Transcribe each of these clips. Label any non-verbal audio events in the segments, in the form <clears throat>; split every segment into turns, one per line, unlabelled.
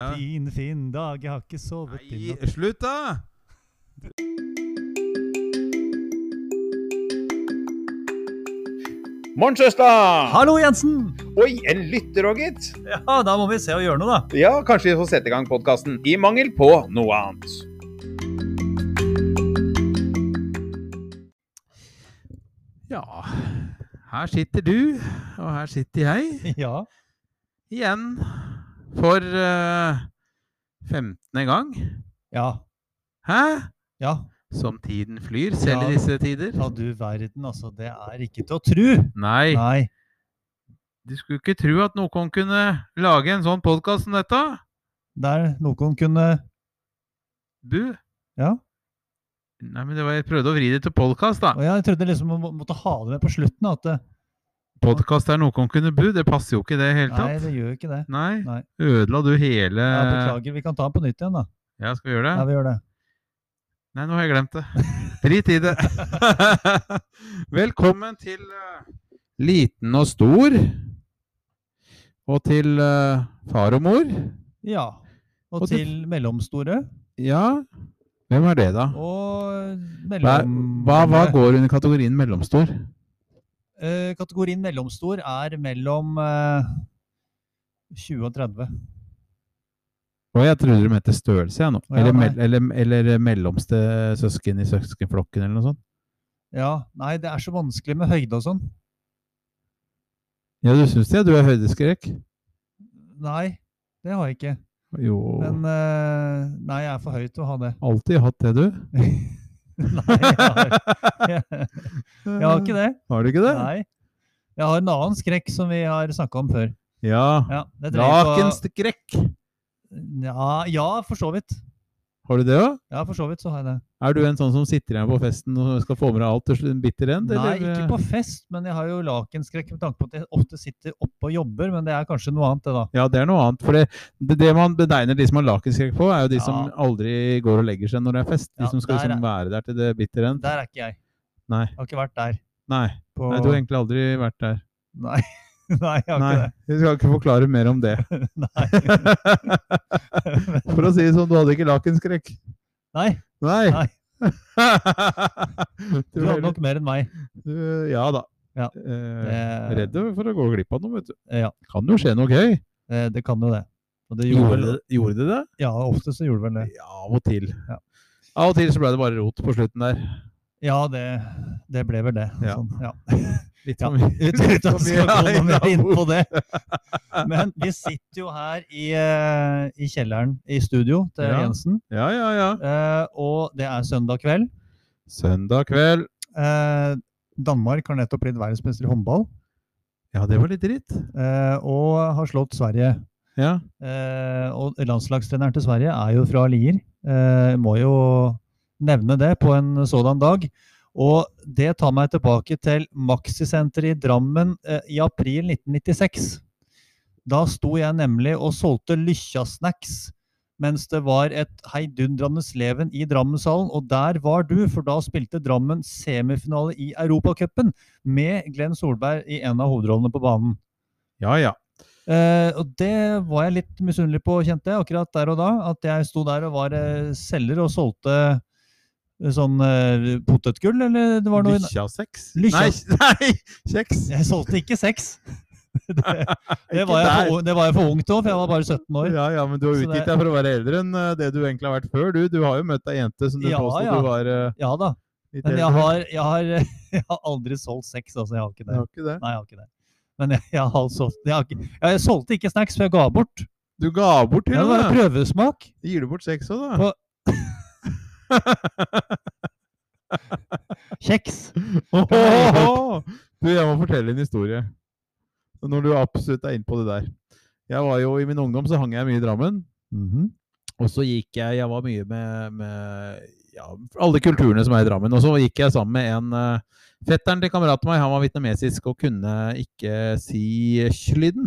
Ja.
Fin, fin dag, jeg har ikke sovet i
Nei, eh,
natt.
slutt, da!
Morgensøster!
Hallo, Jensen!
Oi, en lytter òg, gitt.
Ja, da må vi se og gjøre noe, da.
Ja, kanskje vi får sette i gang podkasten i mangel på noe annet.
Ja, her sitter du, og her sitter jeg.
<laughs> Ja.
Igjen. For eh, 15. gang.
Ja.
Hæ?
Ja.
Som tiden flyr, selv
Ja.
i disse tider.
Ja, du verden, altså. Det er ikke til å tru.
Nei,
Nei.
du skulle ikke tro at noen kunne lage en sånn podkast som dette.
Der noen kunne
Du?
Ja.
Nei, men det var, jeg prøvde å vri det til podkast, da.
Og jeg trodde liksom man må- måtte ha det med på slutten. At eh, det,
Podkast er noen kunne bu, det passer jo ikke i det hele
nei,
tatt.
det gjør jo ikke det.
Nei.
Nei.
Ødela du hele
Ja, beklager, vi kan ta den på nytt igjen, da.
Ja, skal vi gjøre
Eh. Ja,
det?
vi gjør det.
Nei, nå har jeg
<laughs>
glemt det. Drit i det. <laughs> Velkommen til eh, Liten og stor. Og til eh, far og mor.
Ja. Og,
Og det-
til mellomstore
Ja, hvem er det, da?
og
Hva,
mellom...
hva, hva går under kategorien mellomstor?
Eh, Kategorien mellomstor er mellom eh, 20 og 30.
Og jeg trodde du mente størrelse, jeg nå.
Å, ja,
Eller,
nei.
mell- eller, eller eh, mellomste søsken i søskenflokken, eller noe sånt.
Ja, nei, det er så vanskelig med høyde og sånn.
Ja, du syns det? Du er høydeskrekk?
Nei, det har jeg ikke.
Jo.
Men eh, nei, jeg er for høy til å ha det. <laughs>
Alltid hatt det, du.
nei, jeg har, jeg, har ikke det.
Har du ikke det?
Nei. Jeg har en annen skrekk som vi har snakka om før.
Ja.
Ja, det trenger jeg ikke å-
Nakenskrekk.
ja, ja, for så vidt.
Har du det òg?
Ja, for så vidt så har jeg det.
Er du en sånn som sitter igjen på festen og skal få med deg alt til slutt? En bitter en?
Nei, ikke på fest, men jeg har jo lakenskrekk med tanke på at jeg ofte sitter oppe og jobber, men det er kanskje noe annet, det da.
Ja, det er noe annet. For det, det, det man bedegner de som har lakenskrekk på, er jo de som
Ja.
aldri går og legger seg når det er fest. De
Ja,
som skal
der er-
liksom være der til det bitter end.
Der er ikke jeg.
Nei.
Jeg har ikke vært der.
Nei,
På...
nei, du har egentlig aldri vært der.
Nei. <laughs> nei, jeg har
Nei, vi skal ikke forklare mer om det.
ikke det. Nei.
<laughs> For å si det sånn, du hadde ikke lakenskrekk.
nei.
Nei. <laughs>
Nei.
du
Du
var
hadde nok mer enn meg.
Du, ja da.
Ja,
Eh,
Det,
redd for å gå glipp av noe, vet du.
Ja,
Kan jo skje noe gøy.
eh, det kan jo det. Og det gjorde vel,
gjorde det det?
ja, ofte så gjorde vel det.
Ja, av og til.
Ja.
Av og til så ble det bare rot på slutten der.
Ja, det, det ble vel det.
Ja.
Sånn, ja.
<laughs> Litt
Ja, <laughs>
for mye.
Uten at
for
vi skal
mye
gå
<laughs>
noe mer inn
innavl.
på det.
<laughs>
Men vi sitter jo her i, eh, i kjelleren i studio til
Ja.
Jensen,
Ja, ja, ja.
eh, og det er søndag kveld.
Søndag kveld.
Eh, Danmark har nettopp blitt verdensmester i håndball,
Ja, det var litt dritt.
eh, og har slått Sverige.
Ja.
Eh, og landslagstreneren til Sverige er jo fra Lier. Eh, må jo nevne det på en sådan dag. Og det tar meg tilbake til Maxisenteret i Drammen eh, i april 1996. Da sto jeg nemlig og solgte Lykkja-snacks mens det var et heidundrende leven i Drammenshallen. Og der var du, for da spilte Drammen semifinale i Europacupen med Glenn Solberg i en av hovedrollene på banen.
Ja, ja.
Eh, og det var jeg litt misunnelig på, kjente jeg, akkurat der og da. At jeg sto der og var eh, selger og solgte eh, sånn eh, potetgull, eller det var noe
Lykkja-sex. Nei, <laughs>
Lykkja-
nei, kjeks.
Jeg solgte ikke sex! <laughs>
<laughs>
det, det,
Ikke
var jeg
der.
for, ung- det var jeg for ung til òg, for jeg var bare 17 år.
Ja, ja, men du har
Så
utgitt
det-
deg for å være eldre enn eh, det du egentlig har vært før. Du, du har jo møtt ei jente som du
Ja,
påstod
ja.
du var eh,
Ja da.
litt
Men
eldre.
jeg har, jeg har, <laughs> jeg har aldri solgt sex, altså. Jeg har ikke det.
Du har ikke det.
Nei, jeg har ikke det. Men jeg, jeg har solgt jeg, har ikke, ja, jeg solgte ikke snacks, for jeg ga bort.
Du ga bort til
Det var
henne.
prøvesmak.
Gir du bort sex òg, da?
På- Kjeks.
<laughs> Åhåhå! <laughs> Du, jeg må fortelle en historie. Når du absolutt er inne på det der. Jeg var jo, I min ungdom så hang jeg mye i Drammen.
Mhm.
Og så gikk jeg Jeg var mye med, med ja, alle kulturene som er i Drammen. Og så gikk jeg sammen med en eh, Fetteren til kameraten meg, han var vietnamesisk og kunne ikke si slyden.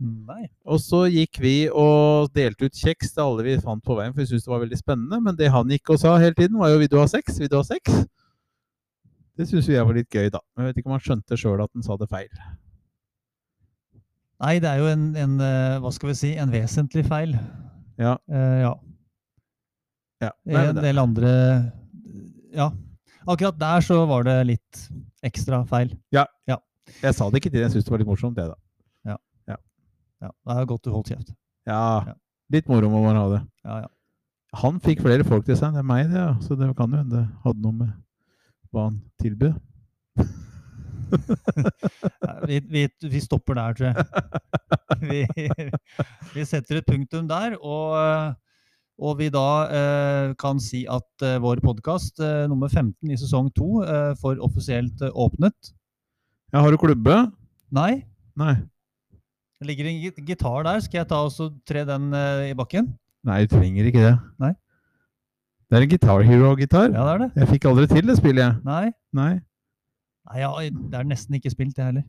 Nei.
Og så gikk vi og delte ut kjeks til alle vi fant på veien, for vi syntes det var veldig spennende. Men det han gikk og sa hele tiden, var jo 'vil du ha sex', 'vil du ha sex'? Det syns jo jeg var litt gøy, da. Men jeg vet ikke om han skjønte sjøl at han sa det feil.
Nei, det er jo en, en eh, hva skal vi si, en vesentlig feil.
Ja.
Eh, ja.
Ja. Nei,
En
men det,
del andre Ja. Akkurat der så var det litt ekstra feil.
jeg sa det ikke til deg, jeg syntes det var litt morsomt, det, da.
Ja, Det er godt du holdt kjeft. Ja.
Ja, litt moro må man ha det.
Ja, ja.
Han fikk flere folk til seg enn meg, det, ja. så det kan jo hende det hadde noe med hva han tilbød.
Nei, Vi, vi, vi stopper der, tror jeg. <laughs> Vi, vi setter et punktum der, og, og vi da eh, kan si at eh, vår podkast eh, nummer 15 i sesong 2 eh, får offisielt eh, åpnet.
Ja, har du klubbe?
Nei,
Nei.
det ligger en git- gitar der. Skal jeg ta og så tre den eh, i bakken?
Nei, du trenger ikke det.
Nei.
Det er en Guitar Hero-gitar.
Ja, det er det.
Jeg fikk aldri til det spillet, jeg.
Nei,
Nei.
Nei ja, det er nesten ikke spilt, det heller.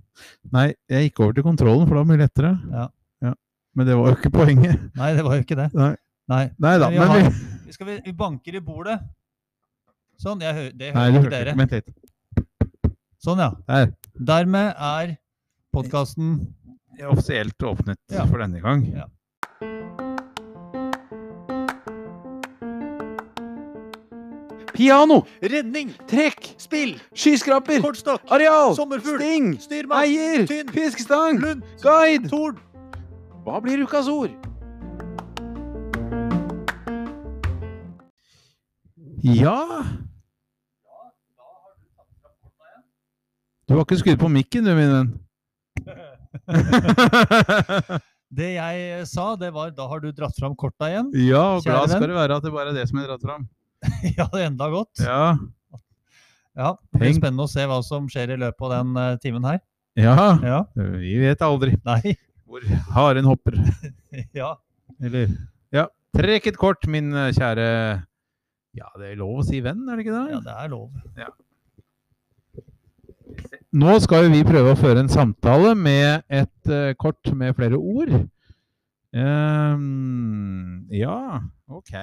Nei, jeg gikk over til kontrollen, for det var mye lettere.
Ja.
Men det var jo ikke poenget. <laughs>
Nei, det var jo ikke det.
Nei.
Nei.
Nei da,
Men vi
men
har-
vi
Vi, skal, vi- vi banker i bordet. Sånn. Jeg hø det
Nei,
hører
du
ikke
hørte
dere.
ikke. Vent litt.
Sånn, ja.
Der.
Dermed er podkasten
Jeg har offisielt åpnet
Ja.
for denne gang.
Ja.
Piano,
Redning,
trekk,
spill,
skyskraper,
kortstokk,
areal,
sommerfugl,
sting,
styrmann,
eier,
tynn,
fiskestang,
lund,
guide.
torn.
Hva blir ukas ord?
Ja! Du har ikke skrudd på mikken, du, min
<laughs>
venn.
Det jeg eh, sa, det var da har du dratt fram korta igjen. <laughs>
ja, og
Kjære
glad skal
venn.
du være at det bare er det som er dratt fram.
ja, det er enda godt.
Ja.
Ja, det blir
Tenk.
spennende å se hva som skjer i løpet av den eh, timen her.
ja.
Ja.
Vi vet aldri
Nei. <laughs>
hvor haren hopper.
Ja.
Eller Ja. Trekk et kort, min eh, kjære Ja, det er lov å si venn, er det ikke
ja,
det?
det er lov.
Nå skal jo vi prøve å føre en samtale med et eh, kort med flere ord. Ehm, ja, OK.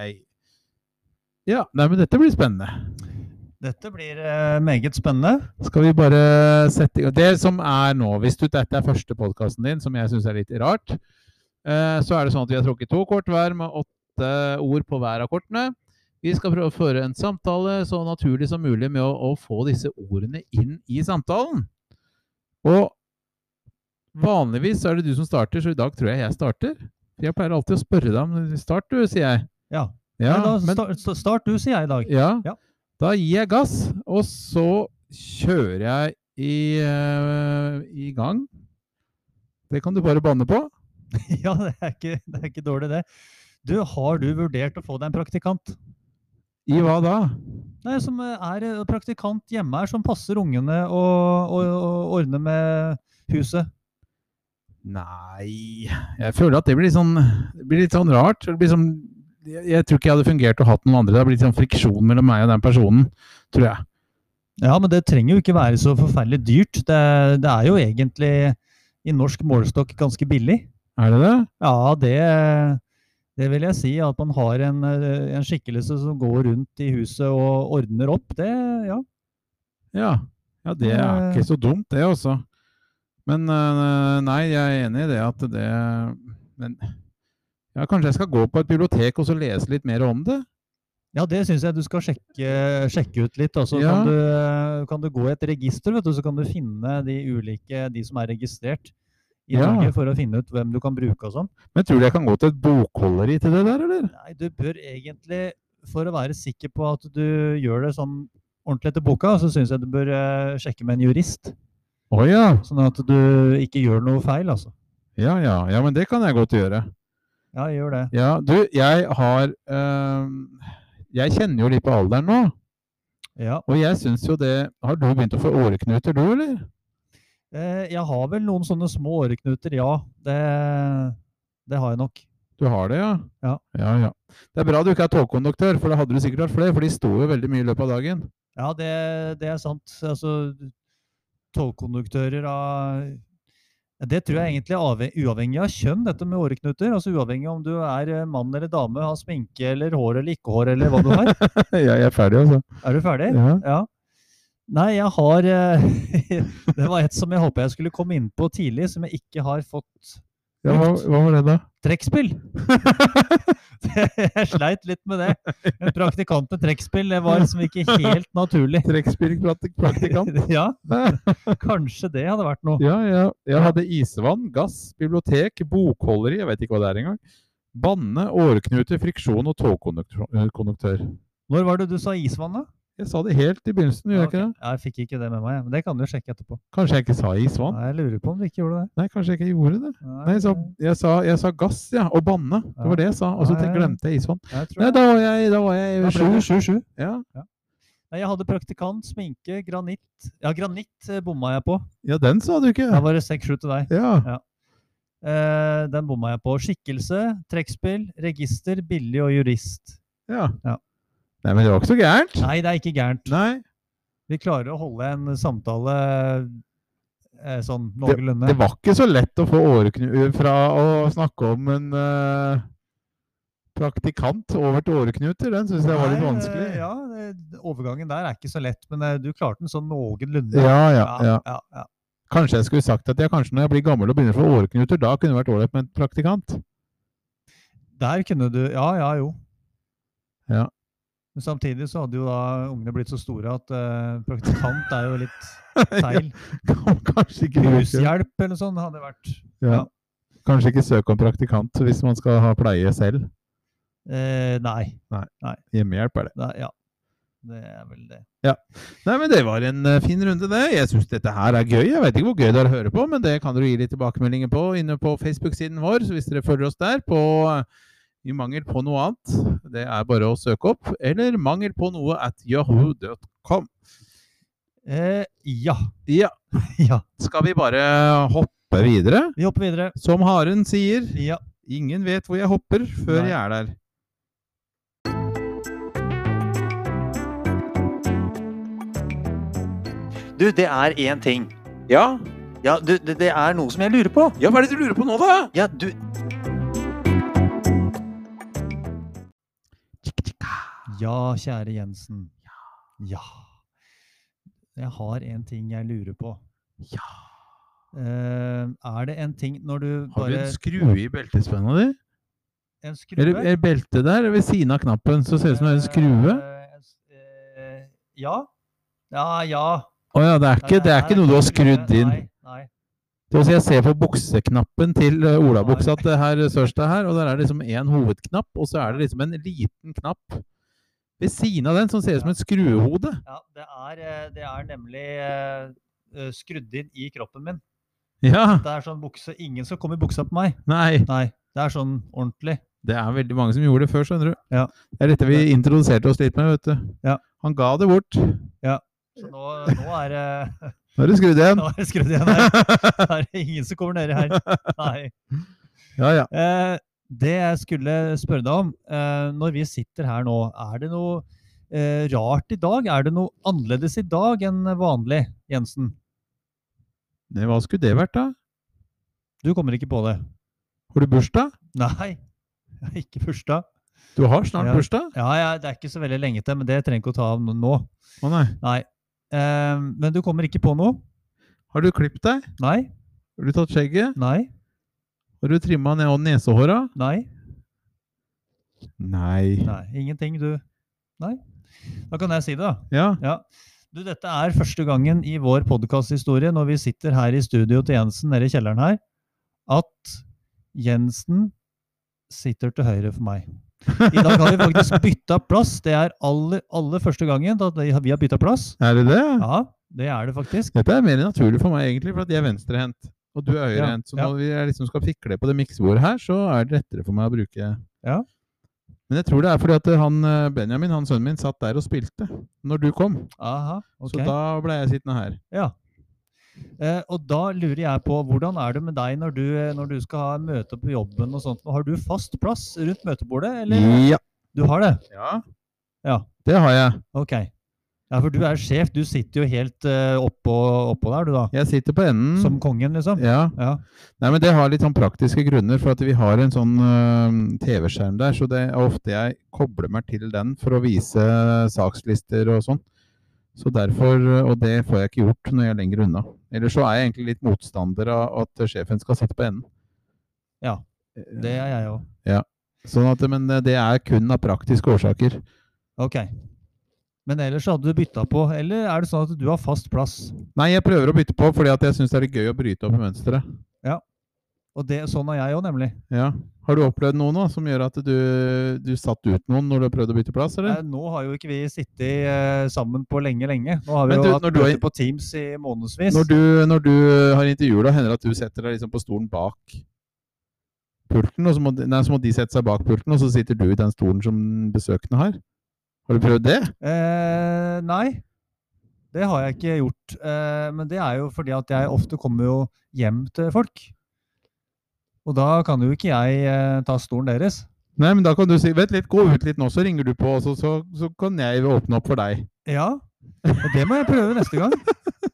Ja, nei, men dette blir spennende.
Dette blir eh, meget spennende.
Skal vi bare sette i gang Det som er nå, hvis du, dette er første podkasten din, som jeg syns er litt rart, eh, så er det sånn at vi har trukket to kort hver med åtte ord på hver av kortene. Vi skal prøve å føre en samtale så naturlig som mulig med å, å få disse ordene inn i samtalen. Og vanligvis så er det du som starter, så i dag tror jeg jeg starter. For Jeg pleier alltid å spørre deg om start, du, sier jeg.
Ja.
Ja,
Nei, da,
men-
sta- sta- start du, sier jeg i dag.
ja.
Ja.
Da gir jeg gass, og så kjører jeg i, eh, i gang. Det kan du bare banne på.
<laughs> Ja, det er ikke, det er ikke dårlig, det. Du, har du vurdert å få deg en praktikant?
I hva da?
Nei, som eh, er eh, praktikant hjemme her, som passer ungene og, og, og ordner med huset.
Nei Jeg føler at det blir, sånn, det blir litt sånn rart. Det blir sånn, jeg, jeg tror ikke jeg hadde fungert og hatt noen andre. Det hadde blitt sånn friksjon mellom meg og den personen, tror jeg.
Ja, men det trenger jo ikke være så forferdelig dyrt. Det, det er jo egentlig i norsk målestokk ganske billig.
Er det det?
Ja, det, det vil jeg si. At man har en, eh, en skikkelse som går rundt i huset og ordner opp, det ja.
Ja. ja det er
Eh.
ikke så dumt, det også. Men eh, nei, jeg er enig i det at det Men ja, kanskje jeg skal gå på et bibliotek og så lese litt mer om det?
Ja, det syns jeg du skal sjekke, sjekke ut litt. Altså,
Ja.
kan, du, kan du gå i et register, vet du, så kan du finne de ulike, de som er registrert i
Ja.
Norge, for å finne ut hvem du kan bruke og sånn.
Men tror du jeg kan gå til et bokholderi til det der, eller?
Nei, du bør egentlig, for å være sikker på at du gjør det sånn ordentlig etter boka, så syns jeg du bør eh, sjekke med en jurist.
Å ja.
Sånn at du ikke gjør noe feil, altså.
ja. Ja ja, men det kan jeg godt gjøre.
Ja, gjør det.
Ja, du, jeg har øhm, Jeg kjenner jo litt på alderen nå,
Ja.
og jeg syns jo det Har du begynt å få åreknuter, du, eller?
Eh, jeg har vel noen sånne små åreknuter, ja. Det, det har jeg nok.
Du har det, ja?
Ja.
ja, ja. Det er bra du ikke er togkonduktør, for da hadde du sikkert hatt flere, for de sto jo veldig mye i løpet av dagen.
Ja, det, det er sant. Altså, togkonduktører av Ja, Det tror jeg egentlig er avhe- uavhengig av kjønn, dette med åreknuter. Altså uavhengig om du er eh, mann eller dame, har sminke eller hår eller ikke hår eller hva du har.
jeg er ferdig, altså.
Er du ferdig?
Ja.
Ja. Nei, jeg har eh, <laughs> Det var et som jeg håpa jeg skulle komme inn på tidlig, som jeg ikke har fått <laughs>
Ja, hva, hva var det, da?
trekkspill. jeg sleit litt med det. En praktikant med trekkspill det var liksom ikke helt naturlig. <laughs>
Trekkspillpraktikant.
Ja, kanskje det hadde vært noe.
Ja, ja. Jeg hadde isvann, gass, bibliotek, bokholderi, jeg vet ikke hva det er engang. Banne, åreknute, friksjon og togkonduktør.
Når var det du sa isvann, da?
Jeg sa det helt i begynnelsen, gjør jeg ikke
Ja,
det?
ok. Jeg fikk ikke det med meg, jeg, men det kan du jo sjekke etterpå.
Kanskje jeg ikke sa isvann?
Nei, jeg lurer på om du ikke gjorde det.
Nei, kanskje jeg ikke gjorde det. Nei, jeg sa, jeg sa, jeg sa gass, ja, og banne. Det var det jeg sa, og
Ja,
så
ja,
tenk-
ja.
glemte jeg isvann.
jeg tror
Nei, da var jeg, da var jeg
Da ble det sju, sju.
Ja.
Nei, jeg hadde praktikant, sminke, granitt. Ja, granitt eh, bomma jeg på.
ja, den sa du ikke.
Da var det seks, sju til deg.
Ja.
Eh, den bomma jeg på. Skikkelse, trekkspill, register, billig og jurist.
ja.
Ja.
Nei, men det var ikke så gærent.
Nei, det er ikke gærent.
Nei.
Vi klarer å holde en samtale eh, sånn
Det
noenlunde.
var ikke så lett å få åreknut fra å snakke om en eh, praktikant over til åreknuter. Den syns jeg var litt
Nei, eh,
vanskelig.
Ja, det- overgangen der er ikke så lett, men eh, du klarte den sånn noenlunde.
Ja, ja, ja.
ja, ja.
Kanskje jeg skulle sagt at jeg kanskje når jeg blir gammel og begynner å få åreknuter, da kunne det vært ålreit med en praktikant.
Der kunne du Ja, ja, jo.
Ja.
Men samtidig så hadde jo da ungene blitt så store at eh, praktikant er jo
<laughs>
litt feil.
kanskje ikke bruke-
Hushjelp eller sånn hadde vært.
ja. Kanskje ikke søke om praktikant hvis man skal ha pleie selv.
Eh, nei.
Hjemmehjelp er det.
Nei, ja. Det er vel det.
Nei, men Det var en eh, fin runde, det. Jeg syns dette her er gøy. Jeg vet ikke hvor gøy det er å høre på, men det kan dere gi litt tilbakemeldinger på inne på Facebook-siden vår. Så hvis dere følger oss der på eh, I mangel på noe annet, det er bare å søke opp. Eller mangel på noe at yahoo.com.
Eh, ja.
Ja,
ja.
skal vi bare hoppe videre?
Vi hopper videre.
Som haren sier,
Ja.
ingen vet hvor jeg hopper før
Nei.
jeg er der.
Du, det er én ting.
Ja?
Ja, du, det, det er noe som jeg lurer på.
ja, hva er det du lurer på nå, da?
Ja, du
ja, kjære Jensen. Ja. Jeg har en ting jeg lurer på.
Ja.
Eh, er det en ting når du
Har du
bare
en skrue i beltespenna di?
En skrue?
Eller eller beltet der ved siden av knappen, så ser det ut som det er en skrue?
Eh, en s- eh, ja. Ja, ja.
Å ja, det er ikke, det er
Nei,
ikke noe du har skrudd inn?
Nei, nei.
Det vil si, jeg ser på bukseknappen til eh, olabuksa til herr Sørstad her, og der er det liksom én hovedknapp, og så er det liksom en liten knapp ved siden av den som ser ut som et skruehode.
Ja, det er, eh, det er nemlig eh, eh, skrudd inn i kroppen min.
Ja,
Det er sånn bukse Ingen som kommer i buksa på meg.
nei.
Nei, det er sånn ordentlig.
Det er veldig mange som gjorde det før, skjønner du.
Ja.
Det er dette vi introduserte oss litt med, vet du.
Ja.
Han ga det bort. Nå
Så nå, nå er det
er det skrudd
<laughs>
igjen.
Nå er det skrudd igjen
<laughs>
her. Det er det ingen som kommer nedi her. Nei.
Ja, ja.
Eh, det jeg skulle spørre deg om, eh, når vi sitter her nå, er det noe eh, rart i dag? Er det noe annerledes i dag enn vanlig, Jensen?
Nei, hva skulle det vært, da?
Du kommer ikke på det?
Har du bursdag?
Nei, jeg har <laughs> ikke bursdag.
Du har snart
Ja.
bursdag?
Ja, ja, det er ikke så veldig lenge til, men det trenger jeg ikke å ta av nå.
Å nei.
Nei. Eh, men du kommer ikke på noe?
Har du klippet deg?
Nei,
Har du tatt skjegget?
nei,
Har du trimma ned og nesehåra?
nei.
Nei.
Nei, ingenting, du. Nei. Da kan jeg si det, da.
Ja.
Du, dette er første gangen i vår podkasthistorie, når vi sitter her i studio til Jensen nede i kjelleren her, at Jensen sitter til høyre for meg. I dag har vi faktisk bytta plass. Det er aller, aller første gangen at vi har- vi har bytta plass.
Er det det?
Ja, det er det faktisk.
Dette er mer naturlig for meg, egentlig, for at jeg er venstrehendt. Og du er høyrehendt. Så
ja.
når vi er liksom skal fikle på det miksebordet her, så er det lettere for meg å bruke
Ja.
Men jeg tror det er fordi at han eh, Benjamin, han sønnen min, satt der og spilte når du kom.
Aha, ok.
Så da ble jeg sittende her.
eh, og da lurer jeg på, hvordan er det med deg når du, eh, når du skal ha møte på jobben og sånt? Har du fast plass rundt møtebordet, eller?
Ja.
Du har det? Ja.
Det har jeg.
Ok. Ja, for du er sjef. Du sitter jo helt eh, oppå, oppå der, du da.
Jeg sitter på enden.
Som kongen, liksom.
ja.
Ja.
Nei, men Det har litt sånn praktiske grunner, for at vi har en sånn øhm, TV-skjerm der. Så det er ofte jeg kobler meg til den for å vise sakslister og sånn. Så derfor, øh, Og det får jeg ikke gjort når jeg er lenger unna. Eller så er jeg egentlig litt motstander av at sjefen skal sitte på enden.
Ja, Det er jeg òg.
Ja. Eh, Sånn at, men eh, det er kun av praktiske årsaker.
Ok. Men ellers så hadde du bytta på, eller er det sånn at du har fast plass?
Nei, jeg prøver å bytte på fordi at jeg syns det er litt gøy å bryte opp mønsteret.
Og det, sånn er jeg òg, nemlig.
Ja. Har du opplevd noe nå som gjør at du, du satt ut noen når du har prøvd å bytte plass, eller?
Nei, Eh, nå har jo ikke vi sittet eh, sammen på lenge, lenge. Nå har vi jo
Men du,
hatt
når du er-
møter på Teams i månedsvis.
Når du, når du eh, har intervjuer, da hender det at du setter deg liksom på stolen bak pulten, og så må, de- nei, så må de sette seg bak pulten, og så sitter du i den stolen som besøkende har. Har du prøvd det?
Eh, nei, det har jeg ikke gjort. Eh, men det er jo fordi at jeg ofte kommer jo hjem til folk. Og da kan jo ikke jeg eh, ta stolen deres.
Nei, men da kan du si Vent litt, gå ut litt nå, så ringer du på, og så, så, så kan jeg åpne opp for deg.
Ja, og det må jeg prøve neste gang. <laughs>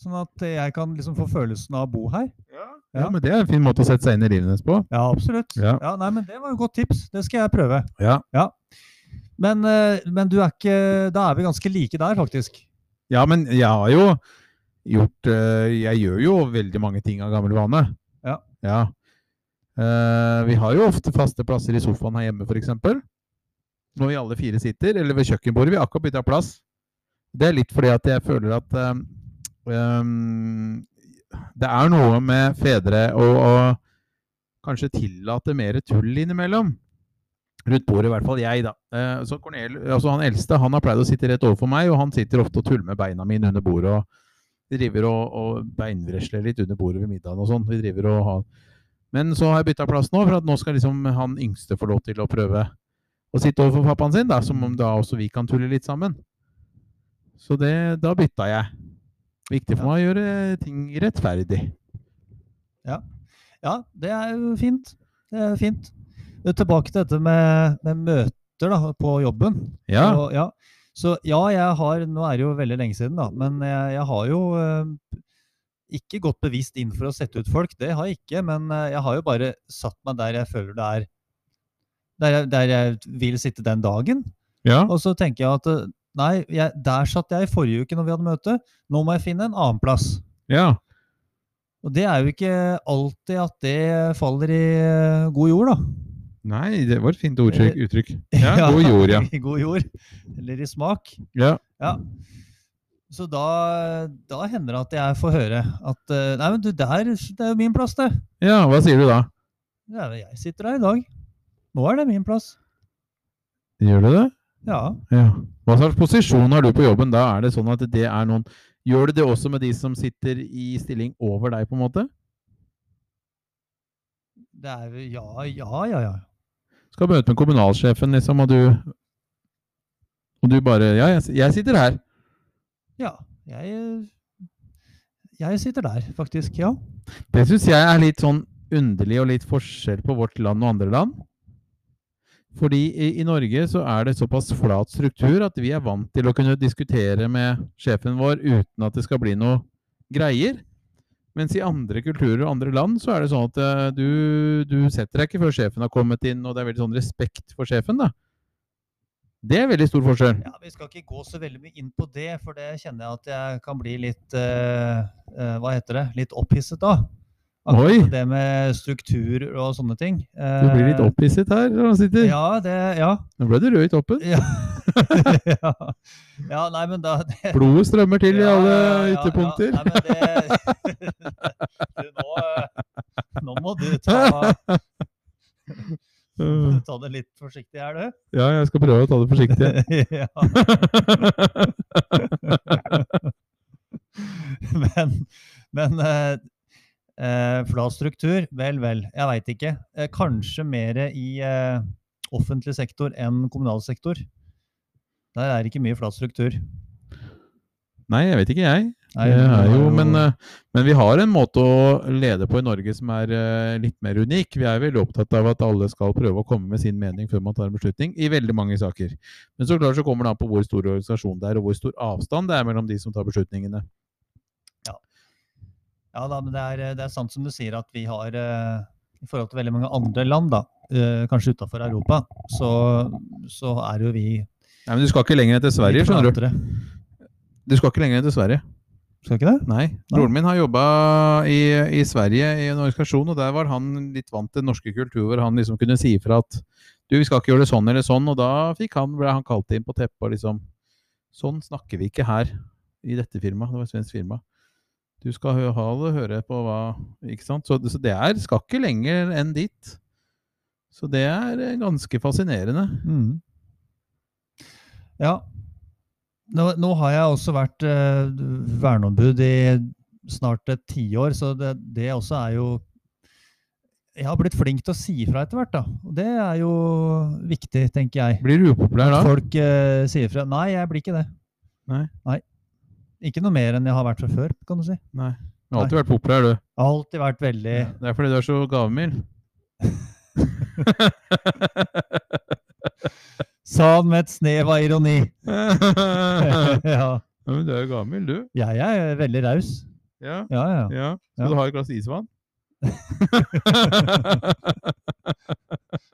Sånn at jeg kan liksom få følelsen av å bo her.
Ja,
Ja.
men Det er en fin måte å sette seg inn i livet hennes på.
Ja, absolutt.
Ja.
nei, men Det var jo godt tips. Det skal jeg prøve.
Ja.
Men, eh, men du er ikke Da er vi ganske like der, faktisk.
Ja, men jeg har jo gjort eh, Jeg gjør jo veldig mange ting av gammel vane.
Ja.
Eh, vi har jo ofte faste plasser i sofaen her hjemme, f.eks. Når vi alle fire sitter, eller ved kjøkkenbordet. Vi har akkurat bytta plass. Det er litt fordi at jeg føler at eh, ehm, Det er noe med fedre å å kanskje tillate mer tull innimellom. Rundt bordet, i hvert fall jeg, da. Eh, så Cornel, altså Han eldste han har pleid å sitte rett overfor meg, og han sitter ofte og tuller med beina mine under bordet. og driver og, og beinvresler litt under bordet ved middagen og sånn. Vi driver og har Men så har jeg bytta plass nå, for at nå skal liksom han yngste få lov til å prøve å sitte overfor pappaen sin, da, som om da også vi kan tulle litt sammen. Så det, da bytta jeg. Viktig for meg å gjøre ting rettferdig.
Ja, det er jo fint. Det er fint. Eh, Tilbake til dette med, med møter da, på jobben.
Ja.
Og, ja. Så ja, jeg har Nå er det jo veldig lenge siden, da. Men jeg, jeg har jo eh, ikke gått bevisst inn for å sette ut folk. Det har jeg ikke. Men eh, jeg har jo bare satt meg der jeg føler det er Der jeg, der jeg vil sitte den dagen.
ja.
Og så tenker jeg at eh, nei, jeg, der satt jeg i forrige uke når vi hadde møte. Nå må jeg finne en annen plass.
ja.
Og det er jo ikke alltid at det faller i eh, god jord, da.
Nei, det var et fint ordtrykk, uttrykk. Ja,
Ja.
god jord, ja.
<laughs> I god jord. Eller i smak.
ja.
Ja. Så da, da hender det at jeg får høre at eh, Nei, men du, der, det er jo min plass, det.
Ja, hva sier du da?
det er, jo- jeg sitter der i dag. Nå er det min plass.
Gjør du det?
Ja.
Ja. Hva slags posisjon har du på jobben? Da er det sånn at det er noen Gjør du det også med de som sitter i stilling over deg, på en måte?
Det er jo Ja, ja, ja. ja.
Skal møte med kommunalsjefen, liksom, og du Og du bare Ja, jeg, jeg sitter her.
ja jeg, jeg sitter der, faktisk. Ja.
Det syns jeg er litt sånn underlig og litt forskjell på vårt land og andre land. Fordi i, i Norge så er det såpass flat struktur at vi er vant til å kunne diskutere med sjefen vår uten at det skal bli noe greier. Mens i andre kulturer og andre land så er det sånn at eh, du, du setter deg ikke før sjefen har kommet inn, og det er veldig sånn respekt for sjefen, da. Det er veldig stor forskjell.
ja. Vi skal ikke gå så veldig mye inn på det, for det kjenner jeg at jeg kan bli litt eh, eh, Hva heter det? Litt opphisset av.
Oi.
det med strukturer og sånne ting. Eh,
Du blir litt opphisset her når han sitter.
Ja, det, ja. <laughs>
Nå ble du rød i toppen.
Ja. ja. ja, nei, men da det,
Blodet strømmer til i alle ytterpunkter.
Ja, nei, men det, <laughs> du, nå, eh, nå må du
<laughs>
ta,
Uh.
ta det litt forsiktig her, du.
Ja, jeg skal prøve å ta det forsiktig.
<laughs> ja. Men, men eh, eh, flat struktur, vel, vel. Jeg veit ikke. Eh, kanskje mer i eh, offentlig sektor enn kommunal sektor. Der er det ikke mye flat struktur.
<laughs> Nei, jeg vet ikke, jeg.
Nei,
Det
det
er
var
jo, men, eh, men vi har en måte å lede på i Norge som er eh, litt mer unik. Vi er veldig opptatt av at alle skal prøve å komme med sin mening før man tar en beslutning, i veldig mange saker. Men så klart så kommer det an på hvor stor organisasjon det er, og hvor stor avstand det er mellom de som tar beslutningene.
Ja da, men det er, eh, det er sant som du sier at vi har, eh, i forhold til veldig mange andre land, da, eh, kanskje utafor Europa, så, så er jo vi
Nei, men du skal ikke lenger enn til Sverige, skjønner du.
flatere.
Du skal ikke lenger enn til Sverige.
Skal ikke det?
Nei. Broren min har jobba i, i Sverige i en organisasjon, og der var han litt vant til den norske kultur, hvor han liksom kunne si ifra at du, vi skal ikke gjøre det sånn eller sånn, og da fikk han, ble han kalt inn på teppet og liksom Sånn snakker vi ikke her i dette firmaet. Det var et svensk firma. Du skal hø- ha det, høre på hva Ikke sant? Så, så det er, skal ikke lenger enn dit. Så det er eh, ganske fascinerende.
Mm. Ja. Nå, nå har jeg også vært eh, verneombud i snart et tiår, så det, det også er jo Jeg har blitt flink til å si ifra etter hvert, da. Og det er jo viktig, tenker jeg.
Blir du upopulær da?
Folk eh, sier fra. Nei, jeg blir ikke det.
Nei.
Ikke noe mer enn jeg har vært fra før, kan du si. Jeg
Nei. Du har alltid vært populær, du.
har alltid vært veldig
Det er fordi du er så gavmild. <laughs>
Sa han sånn med et snev av ironi.
<laughs> ja,
ja.
men du er jo gavmild, du.
Jeg er veldig raus.
Ja.
Ja, ja.
ja.
Ja.
Skal du ha et glass isvann?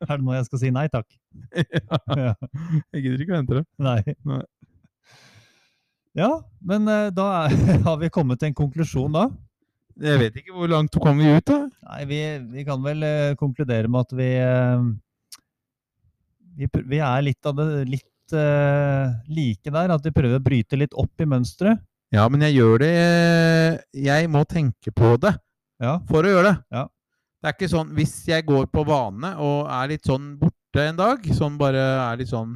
Er det nå jeg skal si nei
<laughs>
takk? Ja.
<laughs> Jeg gidder ikke vente det.
Nei.
Nei.
Ja, men eh, da er, <laughs> har vi kommet til en konklusjon da.
Jeg vet ikke hvor langt kom vi ut, da.
Nei, vi, vi kan vel eh, konkludere med at vi, eh, vi pr- Vi er litt av det litt eh, like der, at vi prøver å bryte litt opp i mønsteret.
Ja, men jeg gjør det Jeg må tenke på det
Ja.
for å gjøre det.
Ja.
Det er ikke sånn hvis jeg går på vane og er litt sånn borte en dag, sånn bare er litt sånn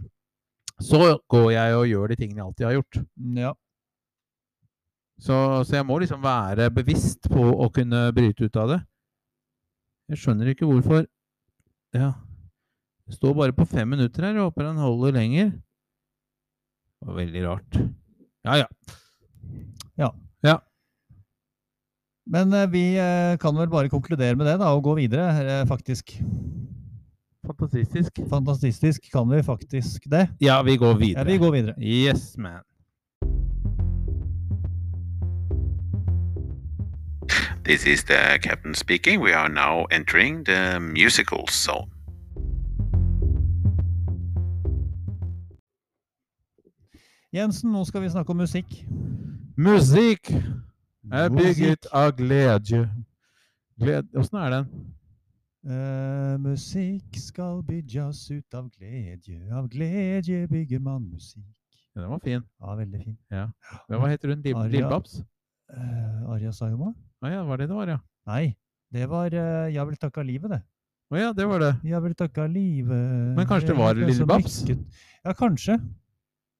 Så går jeg og gjør de tingene jeg alltid har gjort.
ja.
Så, så jeg må liksom være bevisst på å kunne bryte ut av det. Jeg skjønner ikke hvorfor Ja. Det står bare på fem minutter her. Jeg håper den holder lenger. Det var veldig rart. Ja, ja.
Men eh, vi eh, kan vel bare konkludere med det da, og gå videre, eh, faktisk.
Fantastisk.
Fantastisk kan vi faktisk det.
Ja, vi går
Ja,
videre.
vi går videre.
Yes, man.
This is the captain speaking. We are now entering the musical zone.
Jensen, nå skal vi snakke om musikk.
Musikk er
Musikk.
bygget av glede. Gled... Åssen er den?
Eh, musikk skal bygges ut av glede, av glede bygger man musikk.
Ja, den var fin.
Ja, veldig fin.
Ja, Hva heter hun? Lil-
Aria.
Lillebabs?
Eh, Arja Sayoma?
Å ja, var det det var, ja.
Nei, det var eh, 'Jeg vil takke livet', det.
Å ja, det var det.
'Jeg vil takke livet'
Men kanskje det var
jeg som
Lille Babs?
lykket- Ja, kanskje.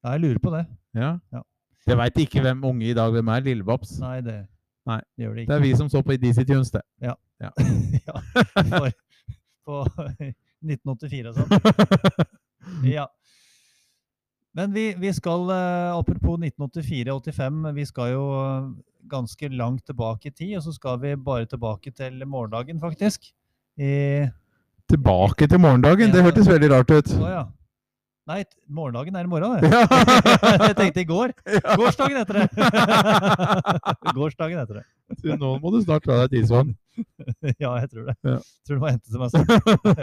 Ja, jeg lurer på det.
Ja.
Ja.
Jeg veit ikke hvem unge i dag hvem er. Lillebabs.
Nei, det,
Nei,
det gjør det
Det
ikke. <laughs>
er vi som så på Dizzie Tunes, det. <laughs>
ja, for, på 1984 og sånn.
<laughs>
Ja. Men vi, vi skal, eh, apropos 1984-85, vi skal jo eh, ganske langt tilbake i tid, og så skal vi bare tilbake til morgendagen, faktisk. I,
Tilbake til morgendagen. Det
Ja.
hørtes veldig rart ut.
å ja. Nei, t- morgendagen er i morgen, det.
<laughs> Ja.
<laughs> Jeg tenkte i
<laughs>
går. Gårsdagen heter det. Gårsdagen heter det. <laughs>
Du, Nå må du snart ta deg et isvann.
Ja, jeg tror det.
Ja.
Tror det var hentet til meg selv.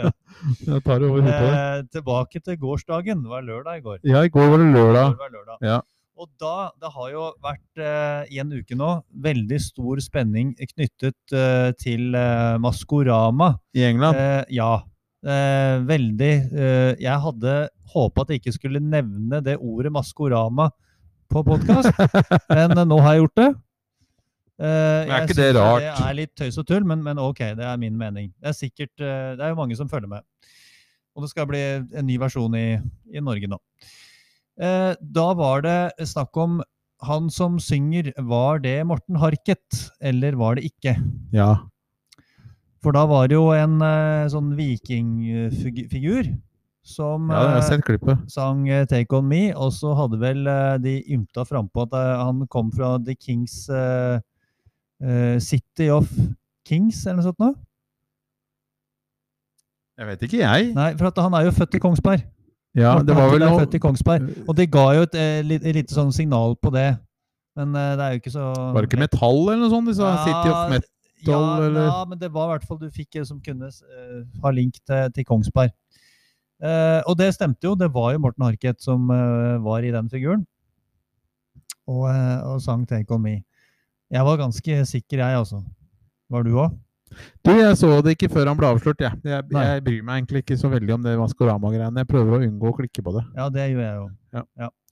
Jeg tar det over hodet på deg.
Eh, tilbake til gårsdagen. Det var lørdag i går.
Ja, i går var det
Det
lørdag.
var lørdag.
Ja.
Og da, det har jo vært eh, i en uke nå veldig stor spenning knyttet eh, til eh, Maskorama.
I England.
Eh, ja, eh, veldig. Eh, jeg hadde håpa at jeg ikke skulle nevne det ordet Maskorama på
<laughs>
podkast, men eh, nå har jeg gjort det. Eh,
Men er
jeg
ikke det
synes jo
rart?
Det er litt tøys og tull, men, men ok, det er min mening. Det er sikkert, eh, det er jo mange som følger med. Og det skal bli en ny versjon i, i Norge nå. Eh, da var det snakk om han som synger, var det Morten Harket, eller var det ikke?
Ja.
For da var det jo en eh, sånn vikingfigur som
ja, jeg har
eh,
sett klippet.
sang eh, 'Take On Me', og så hadde vel eh, de ymta frampå at eh, han kom fra The Kings eh, eh, City of Kings, eller noe sånt noe?
Jeg vet ikke, jeg.
Nei, for at han er jo født i Kongsberg.
Ja,
Morten
det var
Harket
vel
er
noe
født i Kongsberg. Og de ga jo et eh, li- et lite sånn signal på det, men eh, det er jo ikke så
Var det ikke metall eller noe sånt? De sa
Ja,
City of Metal?
ja,
eller?
Ja, men det var i hvert fall du fikk eh, som kunne eh, ha link til, til Kongsberg. Eh, og det stemte jo. Det var jo Morten Harket som eh, var i den figuren. Og, eh, og sang 'Take On Me'. Jeg var ganske sikker, jeg, altså. Var du òg?
Du, jeg så det ikke før han ble avslørt, jeg. Jeg,
Nei.
jeg bryr meg egentlig ikke så veldig om det Maskorama-greiene. Jeg prøver å unngå å klikke på det.
Ja, det gjør jeg jo.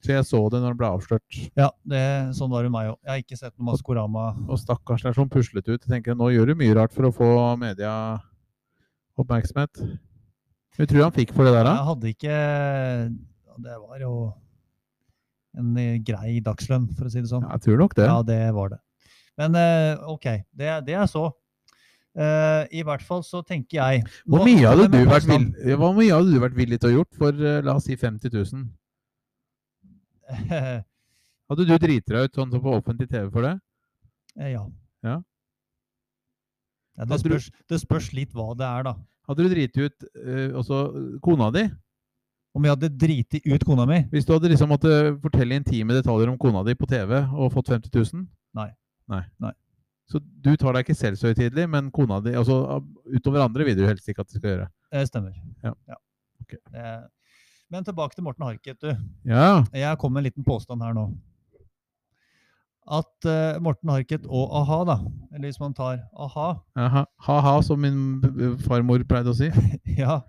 Så jeg så det når han ble avslørt.
Ja, det, sånn var det meg òg. Jeg har ikke sett noe Maskorama.
Og stakkars, det er sånn puslete ut. Jeg tenker, Nå gjør du mye rart for å få media oppmerksomhet. Hva tror du han fikk for det der, da?
Jeg hadde ikke Det var jo en eh, grei dagslønn, for å si det sånn.
Ja, jeg tror nok det.
Ja, det var det. Men eh, OK, det, det jeg så. Eh, I hvert fall så tenker jeg
Hvor
Nå-
mye hadde
det
du
med
vært,
avstand- <laughs>
vill, ja, hvor mye hadde du vært villig til å gjort for eh, la oss si 50 000? Hadde du driti deg ut sånn som på offentlig TV for det?
Eh, ja.
Ja.
Ja, det,
Hadde du-
spørs, det spørs litt hva det er, da.
Hadde du driti ut eh, også kona di?
Om jeg hadde driti ut kona mi?
Hvis du hadde liksom måttet fortelle intime detaljer om kona di på TV og fått 50 000?
Nei.
Nei.
Nei.
Så du tar deg ikke selv så høytidelig, men kona di altså, av- utover andre vil du helst ikke at de skal gjøre.
Det eh, stemmer.
Ja. Ok.
Eh, men tilbake til Morten Harket, du.
Ja,
Jeg kom med en liten påstand her nå. At eh, Morten Harket og a-ha, da, eller hvis man tar a-ha <laughs>
aha. ha-ha, som min b- b- farmor pleide å si.
ja,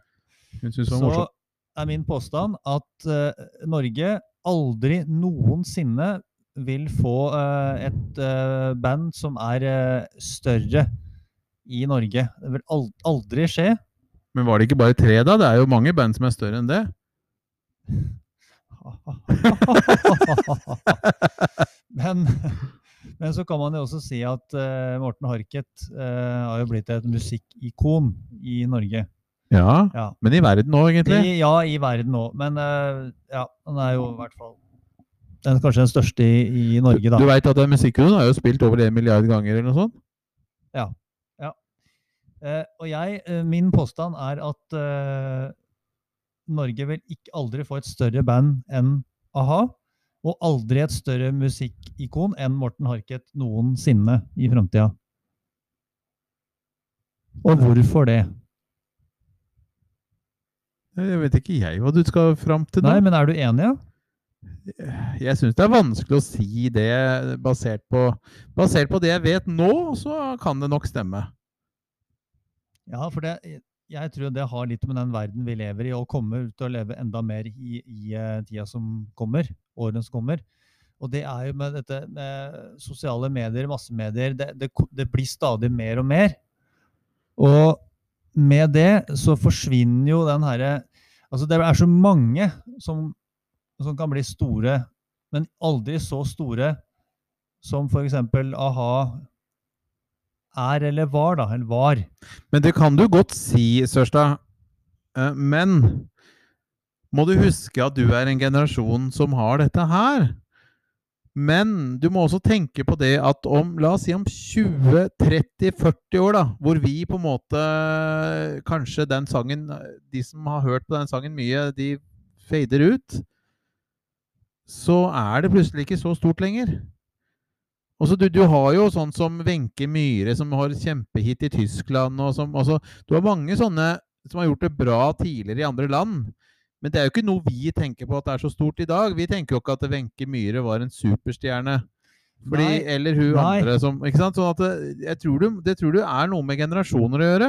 Hun syntes det var
Så
morsomt.
er min påstand at eh, Norge aldri noensinne vil få eh, et eh, band som er eh, større i Norge. Det vil al- aldri skje. <laughs>
Men var det ikke bare tre, da? Det er jo mange band som er større enn det.
men, men så kan man jo også si at eh, Morten Harket eh, har jo blitt et musikkikon i Norge.
Ja,
Ja.
men i verden òg, egentlig.
I, ja, i verden òg. Men eh, ja, han er jo i hvert fall den, kanskje den største i, i Norge, da.
Du veit at den musikkvideoen har jo spilt over en milliard ganger eller noe sånt?
Eh, og jeg, eh, min påstand er at eh, Norge vil ikke aldri få et større band enn a-ha, og aldri et større musikkikon enn Morten Harket noensinne i framtida. Og hvorfor det?
Jeg vet ikke jeg hva du skal fram til nå.
Nei, men er du enig? ja?
Jeg syns det er vanskelig å si det basert på, basert på det jeg vet nå, så kan det nok stemme.
Ja, for det, eh, jeg tror det har litt med den verden vi lever i, og kommer til å leve enda mer i, i eh, tida som kommer, årene som kommer. Og det er jo med dette med sosiale medier, massemedier, det, det, ko- det blir stadig mer og mer. Og med det så forsvinner jo den herre Altså det er så mange som, som kan bli store, men aldri så store som f.eks. a-ha er eller var, da. Eller var.
Men det kan du godt si, Sørstad. Eh, Men må du huske at du er en generasjon som har dette her. Men du må også tenke på det at om la oss si om 20-30-40 år, da, hvor vi på en måte Kanskje den sangen De som har hørt på den sangen mye, de fader ut. Så er det plutselig ikke så stort lenger. Også, du, du har jo sånn som Wenche Myhre, som har kjempehit i Tyskland. og som, altså, Du har mange sånne som har gjort det bra tidligere i andre land. Men det er jo ikke noe vi tenker på at det er så stort i dag. Vi tenker jo ikke at Wenche Myhre var en superstjerne. Fordi,
Nei,
eller hun
nei.
andre som ikke sant? Sånn at det, jeg tror du, det tror du er noe med generasjoner å gjøre.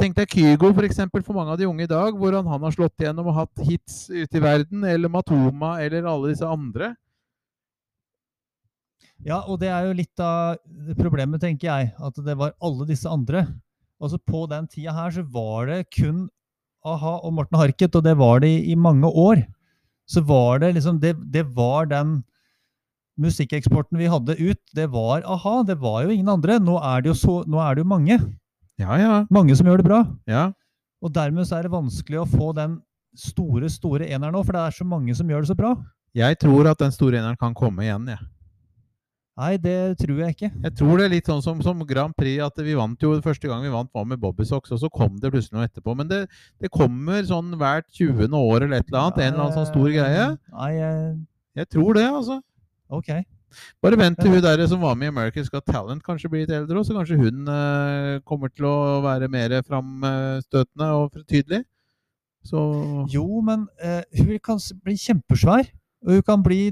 Tenk deg Kygo for, eksempel, for mange av de unge i dag, hvordan han har slått igjennom og hatt hits ute i verden. Eller Matoma, eller alle disse andre.
Ja, og det er jo litt av problemet, tenker jeg. At det var alle disse andre. Altså På den tida her så var det kun a-ha og Morten Harket, og det var det i, i mange år. Så var det liksom Det, det var den musikkeksporten vi hadde ut. Det var a-ha. Det var jo ingen andre. Nå er det jo, så, nå er det jo mange.
Ja, ja.
Mange som gjør det bra.
ja.
Og dermed så er det vanskelig å få den store, store eneren nå, for det er så mange som gjør det så bra.
Jeg tror at den store eneren kan komme igjen. Jeg.
Nei, det tror jeg ikke.
jeg tror det er litt sånn som, som Grand Prix, at vi vant jo første gang vi vant var med Bobbysocks, og så kom det plutselig noe etterpå. Men det, det kommer sånn hvert 20. år eller et eller annet. En eller annen sånn stor greie.
Nei, eh,
Jeg tror det, altså.
ok.
Bare vent til hun der som var med i America's Got Talent kanskje blir litt eldre òg, så kanskje hun eh, kommer til å være mer framstøtende og tydelig. Så
Jo, men eh, hun kan s- bli kjempesvær. Og hun kan bli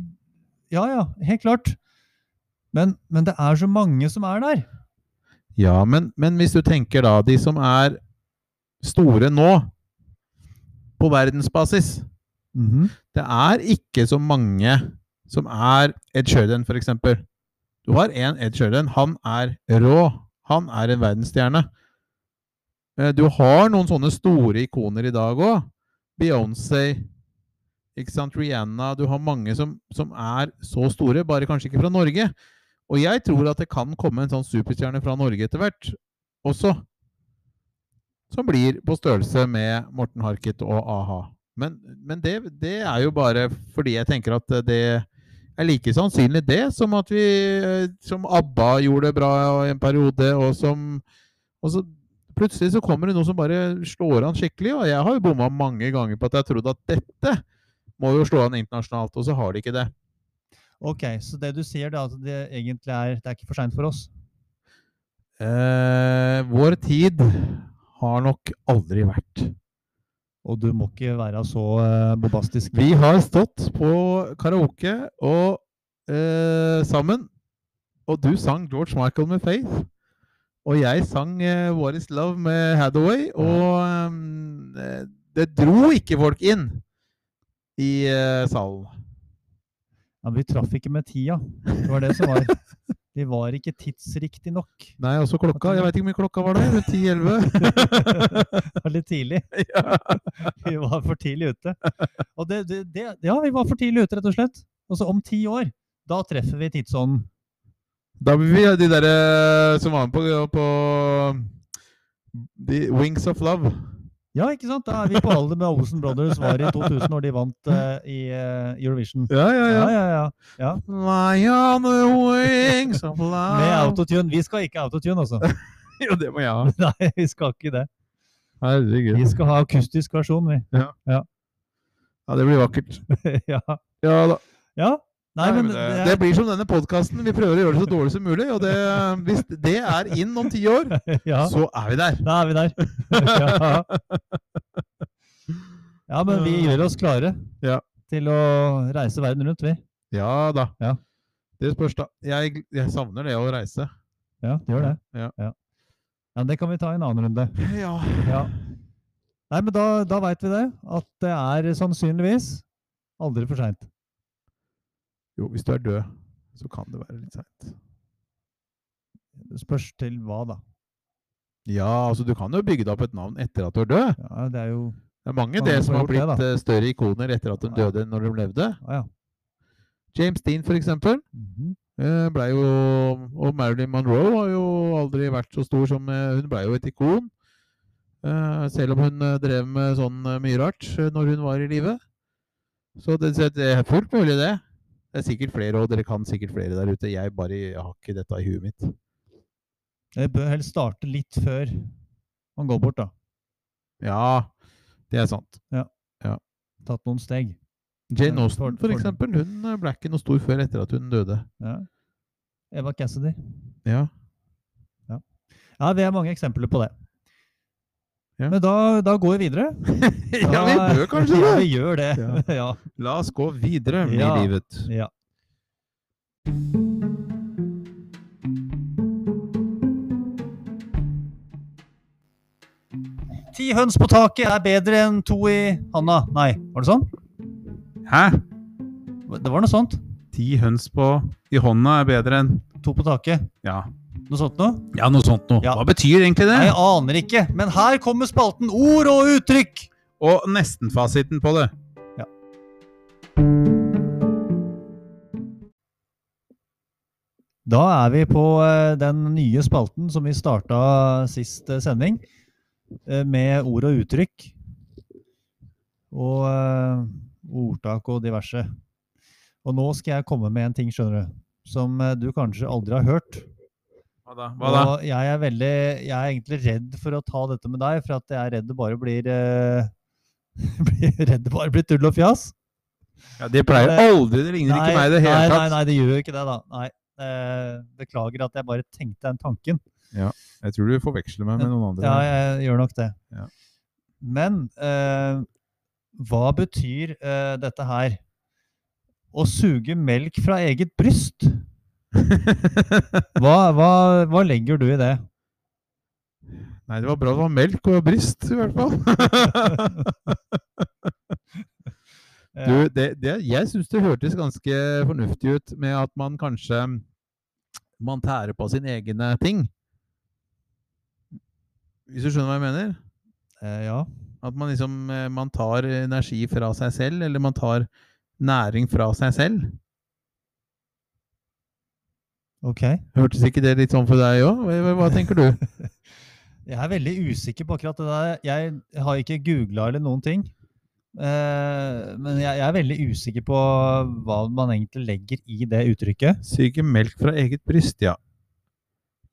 Ja, ja, helt klart. Men, men det er så mange som er der.
Ja, men, men hvis du tenker da De som er store nå, på verdensbasis
Mhm.
Det er ikke så mange som er Ed Sheeran, for eksempel. Du har én Ed Sheeran. Han er rå. Han er en verdensstjerne. Eh, Du har noen sånne store ikoner i dag òg. Beyoncé, ikke sant? Rihanna Du har mange som, som er så store, bare kanskje ikke fra Norge. Og jeg tror at det kan komme en sånn superstjerne fra Norge etter hvert også. Som blir på størrelse med Morten Harket og a-ha. Men, men det, det er jo bare fordi jeg tenker at det er like sannsynlig det som at vi eh, Som ABBA gjorde det bra i en periode, og som og så Plutselig så kommer det noe som bare slår an skikkelig, og jeg har jo bomma mange ganger på at jeg trodde at dette må jo slå an internasjonalt, og så har de ikke det.
Ok, Så det du sier, da, at det egentlig er, det er ikke for seint for oss?
Eh, vår tid har nok aldri vært
Og du må ikke være så eh, bombastisk.
Vi har stått på karaoke og, eh, sammen, og du sang George Michael med Faith. Og jeg sang eh, What Is Love med Hathaway, og ehm, eh, det dro ikke folk inn i eh, salen.
Ja, men vi traff ikke med tida. Det var det som
<laughs>
var. Vi var ikke tidsriktig nok.
Nei, også klokka. Jeg veit ikke hvor mye klokka var der. 10-11?
Det var litt tidlig.
<laughs> ja.
<laughs> Vi var for tidlig ute. Og det, det, det, ja, vi var for tidlig ute, rett og slett. Og så om ti år, da treffer vi tidsånden.
<laughs> Da blir vi de derre som var med på, på de Wings of Love.
Ja, ikke sant? Da er vi på alder med Olsen Brothers var i 2000, når de vant eh, i eh, Eurovision.
Ja, ja,
Ja, ja, ja.
Fly on the wings of love
Med autotune. Vi skal ikke autotune, <laughs> altså.
<laughs> Jo, det må jeg ha.
Nei, vi skal ikke det. Vi
Herregud.
skal ha akustisk versjon, vi. <laughs>
Ja, det blir vakkert.
ja.
Ja da.
ja. Nei,
Nei,
men
men det,
det-
det blir som denne podkasten. Vi prøver å gjøre det så dårlig som mulig. Og det, hvis det er inn om ti år,
<laughs> Ja,
så er vi der.
da er vi der. <laughs> ja. ja, men vi gjør oss klare
Ja.
til å reise verden rundt, vi.
Ja da.
Ja.
Det spørs, da. Jeg, jeg savner det å reise.
Ja, det gjør det.
Ja.
Ja, men det kan vi ta i en annen <laughs> runde.
Ja.
Ja. Nei, men da, da veit vi det. At det er sannsynligvis aldri for seint.
Jo, hvis du er død, så kan det være litt seint.
Spørs til hva, da.
Ja, altså, du kan jo bygge deg opp et navn etter at du er død.
Ja, det er jo
Det er mange
Mange
det
som
som
har
har blitt
gjort det,
eh, større ikoner etter at de
Ja.
døde enn når de levde.
Ja, ja.
James Dean, for eksempel.
Mhm.
Eh, Ble jo, og Marilyn Monroe har jo aldri vært så stor som eh, Hun ble jo et ikon. Eh, Selv om hun eh, drev med sånn eh, mye rart eh, når hun var i live. Så det, så det er fullt mulig, det. Det er sikkert flere, og dere kan sikkert flere der ute. Jeg bare jeg har ikke dette i huet mitt.
Jeg bør helst starte litt før man går bort, da.
Ja, det er sant.
Tatt noen steg.
Jane
Ja,
Austen,
for-
for
for-
eksempel. Hun eh, ble ikke noe stor før etter at hun døde.
<laughs>
Ja. Eva Cassidy.
Ja.
Ja, vi har mange eksempler på det.
Ja.
Men da, da går vi videre.
<laughs> ja, vi
Da-
bør kanskje
<laughs> Ja,
det!
vi gjør det.
Ja.
<laughs> Ja.
La oss gå videre i
Ja.
livet.
ja. Ti høns på taket er bedre enn to i handa. Nei, var det sånn?
Hæ?
Det var noe sånt.
Ti høns på i hånda er bedre enn
To på taket.
Ja.
Noe sånt noe?
Ja, noe sånt noe.
Ja.
Hva betyr egentlig det?
Nei, jeg aner ikke. Men her kommer spalten Ord og uttrykk.
Og nestenfasiten på det.
Da er vi på eh, den nye spalten som vi starta sist eh, sending, eh, med ord og uttrykk. Og eh, ordtak og diverse. Og nå skal jeg komme med en ting, skjønner du, som eh, du kanskje aldri har hørt.
Hva da? Hva da?
Og jeg er, veldig, jeg er egentlig redd for å ta dette med deg, for at jeg er redd det bare blir eh, <laughs> blir Redd det bare blir tull og fjas.
Ja, det pleier
Eh,
aldri. Det ligner ikke meg i det hele
nei,
tatt.
Nei, nei, det gjør jo ikke det, da. Nei. Eh, beklager at jeg bare tenkte den tanken.
Jeg tror du forveksler meg med noen andre.
Ja, jeg gjør nok det.
Ja.
Men eh, hva betyr eh, dette her? Å suge melk fra eget bryst? Hva, hva, hva legger du i det?
<laughs> Nei, det var bra det var melk og brist, i hvert fall. Du,
Ja.
det, det, jeg syns det hørtes ganske fornuftig ut med at man kanskje man tærer på sine egne ting. Hvis du skjønner hva jeg mener?
Eh, ja.
At man liksom eh, man tar energi fra seg selv, eller man tar næring fra seg selv.
Ok.
Hørtes ikke det litt sånn for deg òg? Hva, <laughs> hva tenker du?
Jeg er veldig usikker på akkurat det der. Jeg har ikke googla eller noen ting. Eh, men jeg, jeg er veldig usikker på hva man egentlig legger i det uttrykket.
Suger melk fra eget bryst, ja.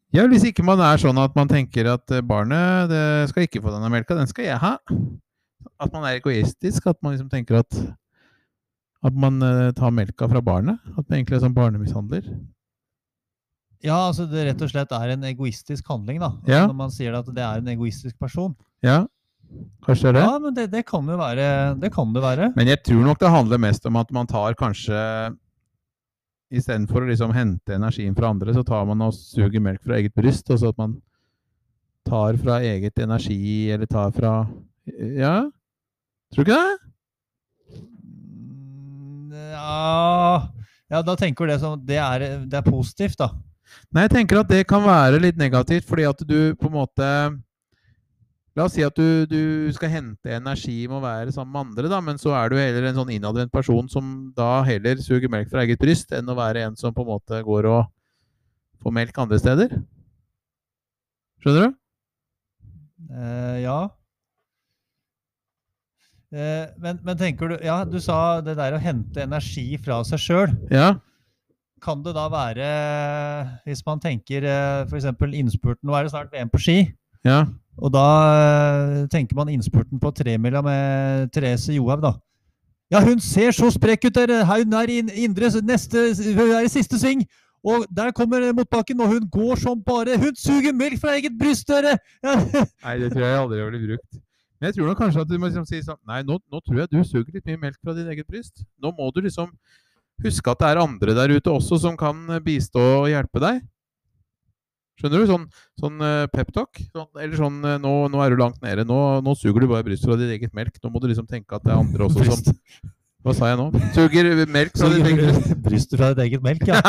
Ja, Hvis ikke man er sånn at man tenker at eh, barnet det skal ikke få denne melka, den skal jeg ha. At man er egoistisk, at man liksom tenker at at man eh, tar melka fra barnet. At man egentlig er sånn barnemishandler.
Ja, altså det rett og slett er en egoistisk handling, da. Altså,
Ja.
Når man sier at det er en egoistisk person.
Ja, kanskje det er det.
Ja, men det, det kan jo være. Det kan det være.
Men jeg tror nok det handler mest om at man tar kanskje Istedenfor å liksom hente energien fra andre, så tar man og suger melk fra eget bryst. Og så at man tar fra eget energi, eller tar fra Ja? Tror du ikke det?
Mm, Ja, ja da tenker du det som det er, det er positivt, da.
Nei, jeg tenker at det kan være litt negativt, fordi at du på en måte La oss si at du, du skal hente energi med å være sammen med andre, da, men så er du heller en sånn innadvendt person som da heller suger melk fra eget bryst, enn å være en som på en måte går og får melk andre steder. Skjønner du?
Eh, ja. Eh, men, men tenker du Ja, du sa det der å hente energi fra seg sjøl.
Ja.
Kan det da være, hvis man tenker f.eks. innspurten Nå er det snart VM på ski.
ja.
Og da eh, tenker man innspurten på tremila med Therese Johaug, da. Ja, hun ser så sprek ut, dere! Hun er i indre neste Hun er i siste sving! Og der kommer motbakken, og hun går som bare Hun suger melk fra eget bryst, dere! Ja,
Nei, det tror jeg aldri jeg ville brukt. Men jeg tror nok kanskje at du må liksom si sånn Nei, nå, nå tror jeg du suger litt mye melk fra ditt eget bryst. Nå må du liksom huske at det er andre der ute også som kan eh, bistå og hjelpe deg. Skjønner du? Sånn, sånn eh, peptalk. Sånn, eller sånn eh, nå, nå er du langt nede. Nå, nå suger du bare bryst fra ditt eget melk. Nå må du liksom tenke at det er andre også som Hva sa jeg nå? Suger melk fra ditt eget bryst. <laughs>
Brystet fra ditt eget melk, ja.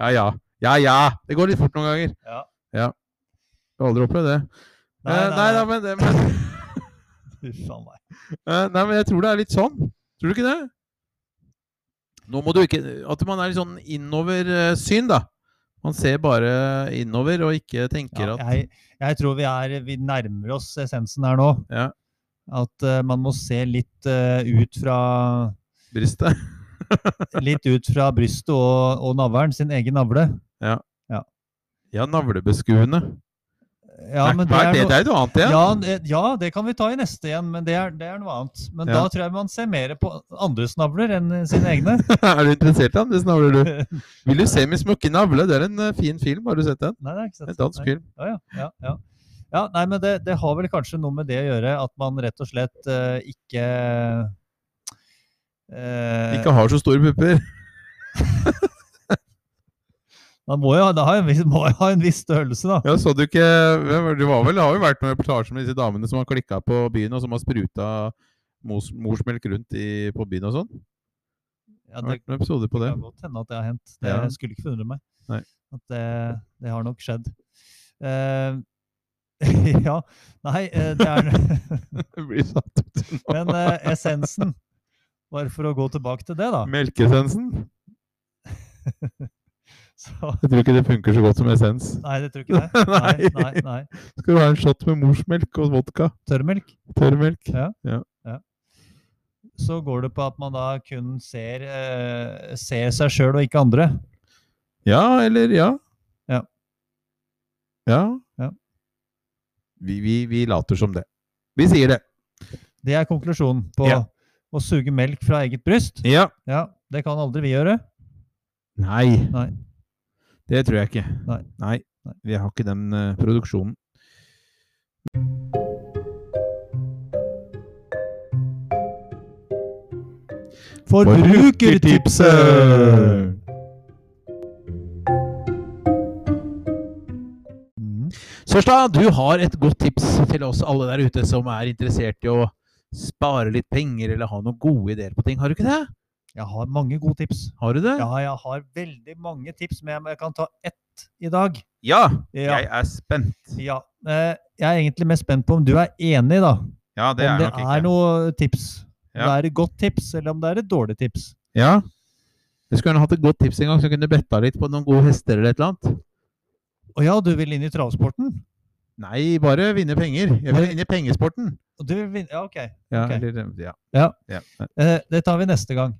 ja, ja. Ja, ja. Det går litt fort noen ganger.
Ja.
ja. Jeg har aldri opplevd det. Nei, nei, da, men, det- men
Huff a meg.
Eh, Nei, men jeg tror det er litt sånn. Tror du ikke det? Nå må du ikke At man er litt sånn innoversyn, da. Man ser bare innover og ikke tenker
Ja,
at
jeg, jeg tror vi, er, vi nærmer oss essensen her nå.
Ja.
At eh, man må se litt eh, ut fra
brystet <laughs>
litt ut fra brystet og, og navlen, sin egen navle.
Ja, navlebeskuende.
Ja,
Nei,
men det
hva er
er
det, det
noe,
er jo noe annet igjen.
ja, det- ja, det kan vi ta i neste igjen, men det er, det er noe annet. Men
Ja.
da tror jeg man ser mer på andres navler enn sine
<laughs>
egne.
<laughs> er du interessert i den? Det snavler
<laughs>
du.
Nei,
'Vil du se min smukke navle'? Det er en eh, fin film, har du sett den?
det er ikke sant.
En dansk
Nei.
film.
Ja, ja, ja, ja. ja nei, men det, det har vel kanskje noe med det å gjøre, at man rett og slett eh, ikke eh,
Ikke har så store pupper. <laughs>
Man må jo ha, det har jo en viss, må jo ha en viss størrelse, da.
Ja, så du ikke hvem var- Det var vel, det har jo vært noen reportasjer med disse damene som har klikka på byen, og som har spruta mos, morsmelk rundt i, på byen og sånn?
Ja,
Det har
det
vært noen episoder på <laughs> det.
kan godt hende at det har hendt. Det
Ja.
skulle ikke forundre meg.
Nei.
At det, det har nok skjedd. Eh, <laughs> ja. Nei, eh, det er <laughs>
Jeg blir satt ut nå.
Men eh, essensen, bare for å gå tilbake til det, da
Melkeessensen?
<laughs> så,
Jeg tror ikke det funker så godt som essens.
Nei, det tror
<laughs>
ikke det. Nei, nei, nei.
Skal du ha en shot med morsmelk og vodka?
Tørrmelk.
Tørrmelk?
Ja.
Ja.
Så går det på at man da kun ser, eh, ser seg sjøl og ikke andre.
Ja, eller ja.
Ja.
Ja.
Ja.
Vi, vi, vi later som det. Vi sier det.
Det er konklusjonen på
Ja.
å suge melk fra eget bryst.
Ja.
Ja, Det kan aldri vi gjøre.
Nei.
Nei.
Det tror jeg ikke.
Nei. Nei.
Vi har ikke den eh, produksjonen.
Forbrukertipset! Mm.
Sørstad, du har et godt tips til oss alle der ute som er interessert i å spare litt penger eller ha noen gode ideer på ting. Har du ikke det?
Jeg har mange gode tips.
Har du det?
Ja, jeg har veldig mange tips, men jeg- jeg kan ta ett i dag.
Ja,
Ja,
jeg er spent.
ja. Eh, Jeg er egentlig mest spent på om du er enig, da.
Ja, det
om
er
det
nok
er
ikke.
noe tips. Om
Ja.
det er et godt tips, eller om det er et dårlig tips.
Ja. Du skulle gjerne hatt et godt tips en gang, så jeg kunne betta litt på noen gode hester eller et eller annet.
Å ja, du vil inn i travsporten?
Nei, bare vinne penger. Jeg vil inn i pengesporten.
Og Du vil vinne Ja, OK.
Ja,
Ok.
eller, ja.
Ja.
Ja.
Eh, Det tar vi neste gang.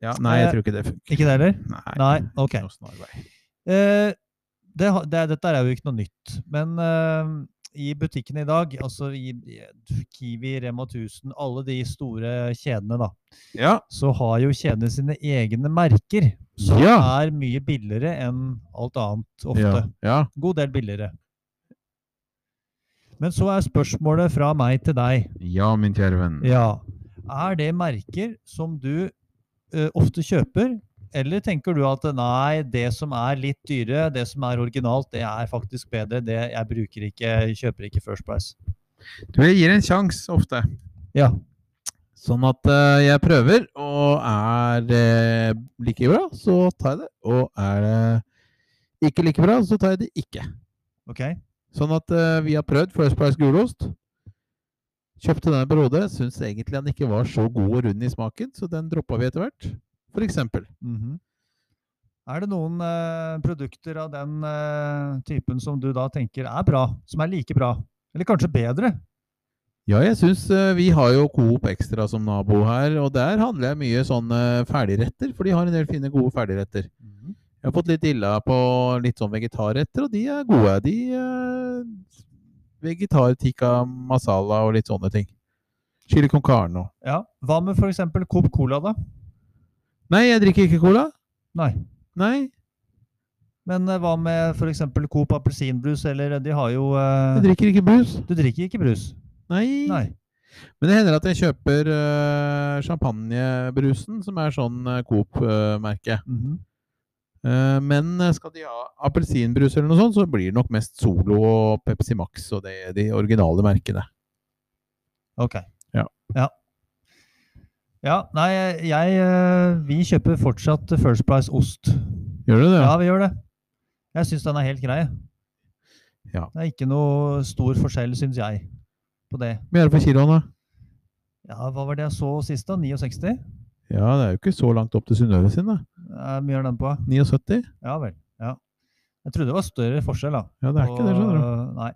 ja. Nei, jeg tror ikke det funker.
Eh, Ikke det heller?
Nei.
Nei, ok.
Noe snarvei.
Eh, det, ha- det, er- dette er jo ikke noe nytt, men eh, i butikkene i dag, altså i i Kiwi, Rema 1000, alle de store kjedene, da,
Ja.
så har jo kjedene sine egne merker. Som
Ja.
er mye billigere enn alt annet ofte.
Ja. ja.
God del billigere. Men så er spørsmålet fra meg til deg.
Ja, min kjære venn.
Ja. Er det merker som du eh, ofte kjøper, eller tenker du at nei, det som er litt dyre, det som er originalt, det er faktisk bedre, det jeg bruker ikke, kjøper ikke First Price?
Du, jeg gir en sjanse ofte.
Ja.
Sånn at eh, jeg prøver, og er det like bra, så tar jeg det. Og er det ikke like bra, så tar jeg det ikke.
Ok?
Sånn at eh, vi har prøvd First Price gulost. Kjøpte den en periode. Syns egentlig den ikke var så god og rund i smaken, så den droppa vi etter hvert. For eksempel.
Mhm. Er det noen eh, produkter av den eh, typen som du da tenker er bra, som er like bra, eller kanskje bedre?
Ja, jeg syns vi har jo Coop Extra som nabo her, og der handler jeg mye sånne ferdigretter, for de har en del fine, gode ferdigretter. Jeg har fått litt illa på litt sånn vegetarretter, og de er gode. De eh, Vegetar tikka masala og litt sånne ting. Chili con carne og
Ja. Hva med f.eks. Coop Cola, da?
Nei, jeg drikker ikke cola.
Nei.
Nei,
Men eh, hva med f.eks. Coop appelsinbrus, eller de har jo eh,
jeg drikker ikke brus.
Du drikker ikke brus?
Nei.
Nei.
Men det hender at jeg kjøper eh, champagnebrusen, som er sånn eh, Coop-merke.
Mhm.
Eh, Men eh, skal de ha appelsinbrus eller noe sånt, så blir det nok mest Solo og Pepsi Max og det, de originale merkene.
Ok.
Ja.
ja. Ja, nei, jeg eh, Vi kjøper fortsatt First Price ost.
Gjør du det?
Ja, vi gjør det. Jeg syns den er helt grei.
Ja.
Det er ikke noe stor forskjell, syns jeg, på det.
Hvor mye er det for kiloen, da?
Ja, hva var det jeg så sist, da? 69?
Ja, det er jo ikke så langt opp til Synnøve sin, da.
Eh, Mye er den på?
79?
Ja vel. Ja. Jeg trodde det var større forskjell, da.
Ja, det er ikke det, skjønner du.
Og, Nei.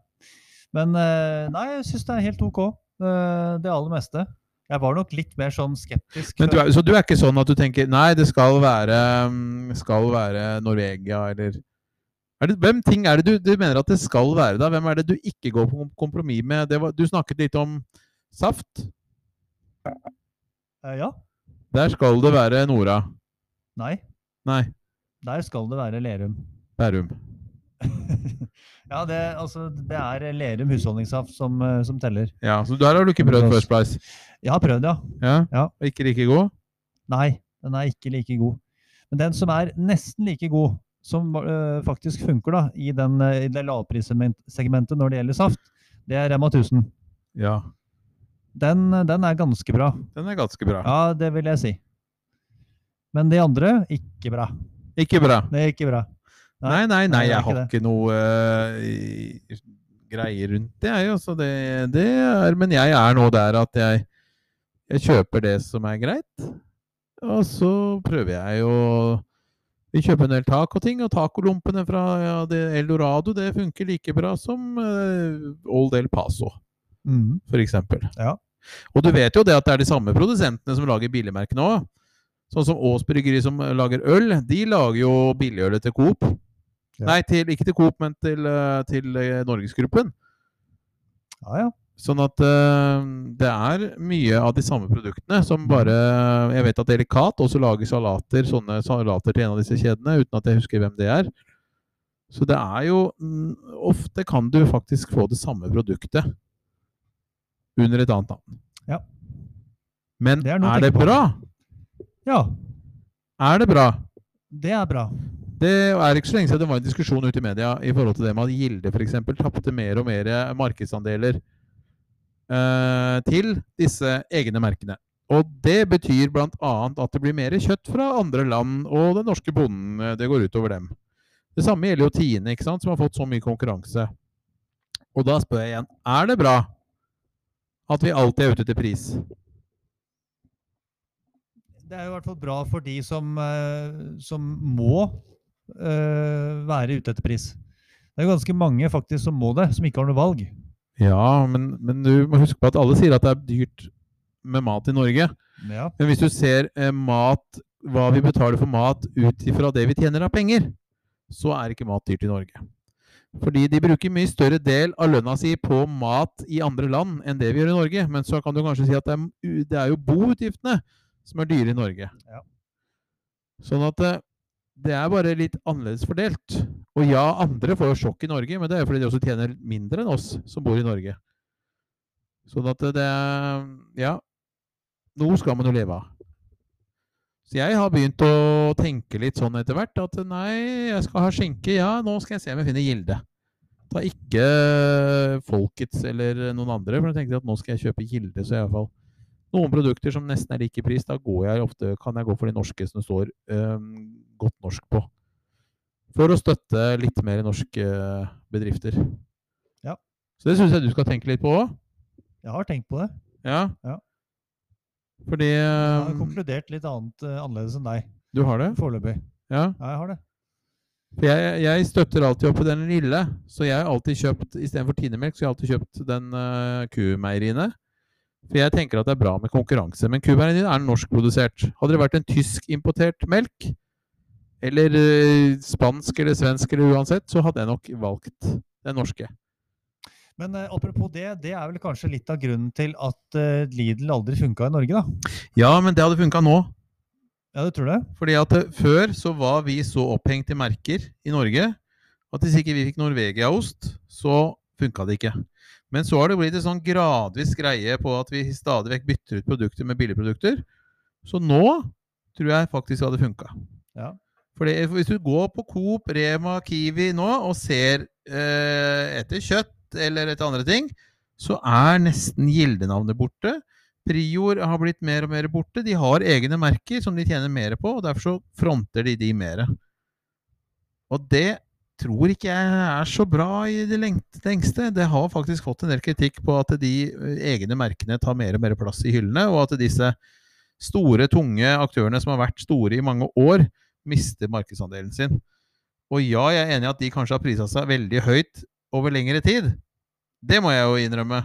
Men eh, nei, jeg syns det er helt OK. eh, Det aller meste. Jeg var nok litt mer sånn skeptisk.
Men du
før.
er, så du er ikke sånn at du tenker Nei, det skal være, mm, skal være Norvegia, eller er det, Hvem ting er det du, du mener at det skal være, da? Hvem er det du ikke går på kom- kompromiss med? Det var, du snakket litt om saft.
Eh, Ja.
Der skal det være Nora.
Nei.
Nei,
Der skal det være Lerum. <laughs>
Bærum.
ja, det, altså, det er Lerum husholdningssaft som, eh, som teller.
Ja, så der har du ikke prøvd First Price?
Jeg har prøvd, ja.
Ja?
Ja.
Og Ikke like god?
Nei, den er ikke like god. Men den som er nesten like god, som eh, faktisk funker da, i, den, eh, i det lavprissegmentet når det gjelder saft, det er Rema 1000.
Ja.
Den, eh, den er ganske bra.
Den er ganske bra.
Ja, det vil jeg si. Men de andre ikke bra.
Ikke bra.
Det er ikke bra.
Nei,
Nei,
nei, nei,
det er
jeg
ikke
har
det.
ikke noe eh, i- greier rundt det, jeg. Altså, det, det er, men jeg er nå der at jeg, jeg kjøper det som er greit, og så prøver jeg å vi kjøper en del tacoting, og tacolompene fra ja, det Eldorado det funker like bra som eh, Old El Paso,
Mhm.
for eksempel.
Ja.
Og du vet jo det at det er de samme produsentene som lager billigmerkene òg. Sånn som Aas Bryggeri som eh, lager øl, de lager jo billigølet til Coop.
Ja.
Nei, til, ikke til Coop, men til, eh, til eh, Norgesgruppen.
Ja, ja.
Sånn at eh, det er mye av de samme produktene som bare Jeg vet at Delikat også lager salater, sånne salater til en av disse kjedene, uten at jeg husker hvem det er. Så det er jo mm, Ofte kan du faktisk få det samme produktet under et annet navn.
Ja.
Men
Det er
er,
noe å
det
tenke på.
bra?
Ja,
Er det bra?
det er bra.
Det er ikke så lenge siden det var en diskusjon ute i media i forhold til det med at Gilde f.eks. tapte mer og mer markedsandeler eh, til disse egne merkene. Og det betyr bl.a. at det blir mer kjøtt fra andre land og den norske bonden. eh, Det går utover dem. Det samme gjelder jo Tine, ikke sant, som har fått så mye konkurranse. Og da spør jeg igjen er det bra at vi alltid er ute etter pris.
Det er jo i hvert fall bra for de som, eh, som må eh, være ute etter pris. Det er jo ganske mange faktisk som må det, som ikke har noe valg.
Ja, men, men du må huske på at alle sier at det er dyrt med mat i Norge.
Ja,
Men hvis du ser eh, mat, hva vi betaler for mat ut ifra det vi tjener av penger, så er ikke mat dyrt i Norge. Fordi de bruker mye større del av lønna si på mat i andre land enn det vi gjør i Norge. Men så kan du kanskje si at det er, u- det er jo boutgiftene som er dyre i Norge.
Ja.
Sånn at eh, det er bare litt annerledes fordelt. Og ja, andre får jo sjokk i Norge, men det er jo fordi de også tjener mindre enn oss som bor i Norge. Sånn at det er Ja. Noe skal man jo leve av. Så jeg har begynt å tenke litt sånn etter hvert at nei, jeg skal ha skinke, ja, nå skal jeg se om jeg finner Gilde. Ta ikke eh, Folkets eller noen andre, for jeg tenkte at nå skal jeg kjøpe Gilde, så i hvert fall noen produkter som nesten er lik i pris, da går jeg ofte, kan jeg gå for de norske som det står øhm, godt norsk på. For å støtte litt mer norske eh, bedrifter.
Ja.
Så det syns jeg du skal tenke litt på òg.
jeg har tenkt på det.
Ja.
Ja.
Fordi ehm,
Jeg har
øhm,
konkludert litt annet, eh, annerledes enn deg
Du har det?
foreløpig.
Ja.
Ja, jeg har det.
For jeg, jeg støtter alltid opp på den lille, så jeg har alltid kjøpt istedenfor Tinemelk, så jeg har alltid kjøpt den uh, kumeieriene. For jeg tenker at det er bra med konkurranse. Men kumeieriene er norskprodusert. Hadde det vært en tyskimportert melk, eller eh, spansk eller svensk eller uansett, så hadde jeg nok valgt den norske.
Men eh, apropos det, det er vel kanskje litt av grunnen til at eh, Lidl aldri funka i Norge, da?
Ja, men det hadde funka nå.
Ja, du tror det?
Fordi at eh, før så var vi så opphengt i merker i Norge at hvis ikke vi fikk Norvegia-ost, så funka det ikke. Men så har det blitt en sånn gradvis greie på at vi stadig vekk bytter ut produkter med billige produkter. Så nå tror jeg faktisk det hadde funka.
Ja.
For det- hvis du går på Coop, Rema, Kiwi nå og ser eh, etter kjøtt eller etter andre ting, så er nesten gildenavnet borte. Prior har blitt mer og mer borte. De har egne merker som de tjener mer på, og derfor så fronter de de mer. Og det tror ikke jeg er så bra i det lengt- lengste. Det har faktisk fått en del kritikk på at de eh, egne merkene tar mer og mer plass i hyllene, og at disse store, tunge aktørene som har vært store i mange år, mister markedsandelen sin. Og ja, jeg er enig i at de kanskje har prisa seg veldig høyt over lengre tid. Det må jeg jo innrømme.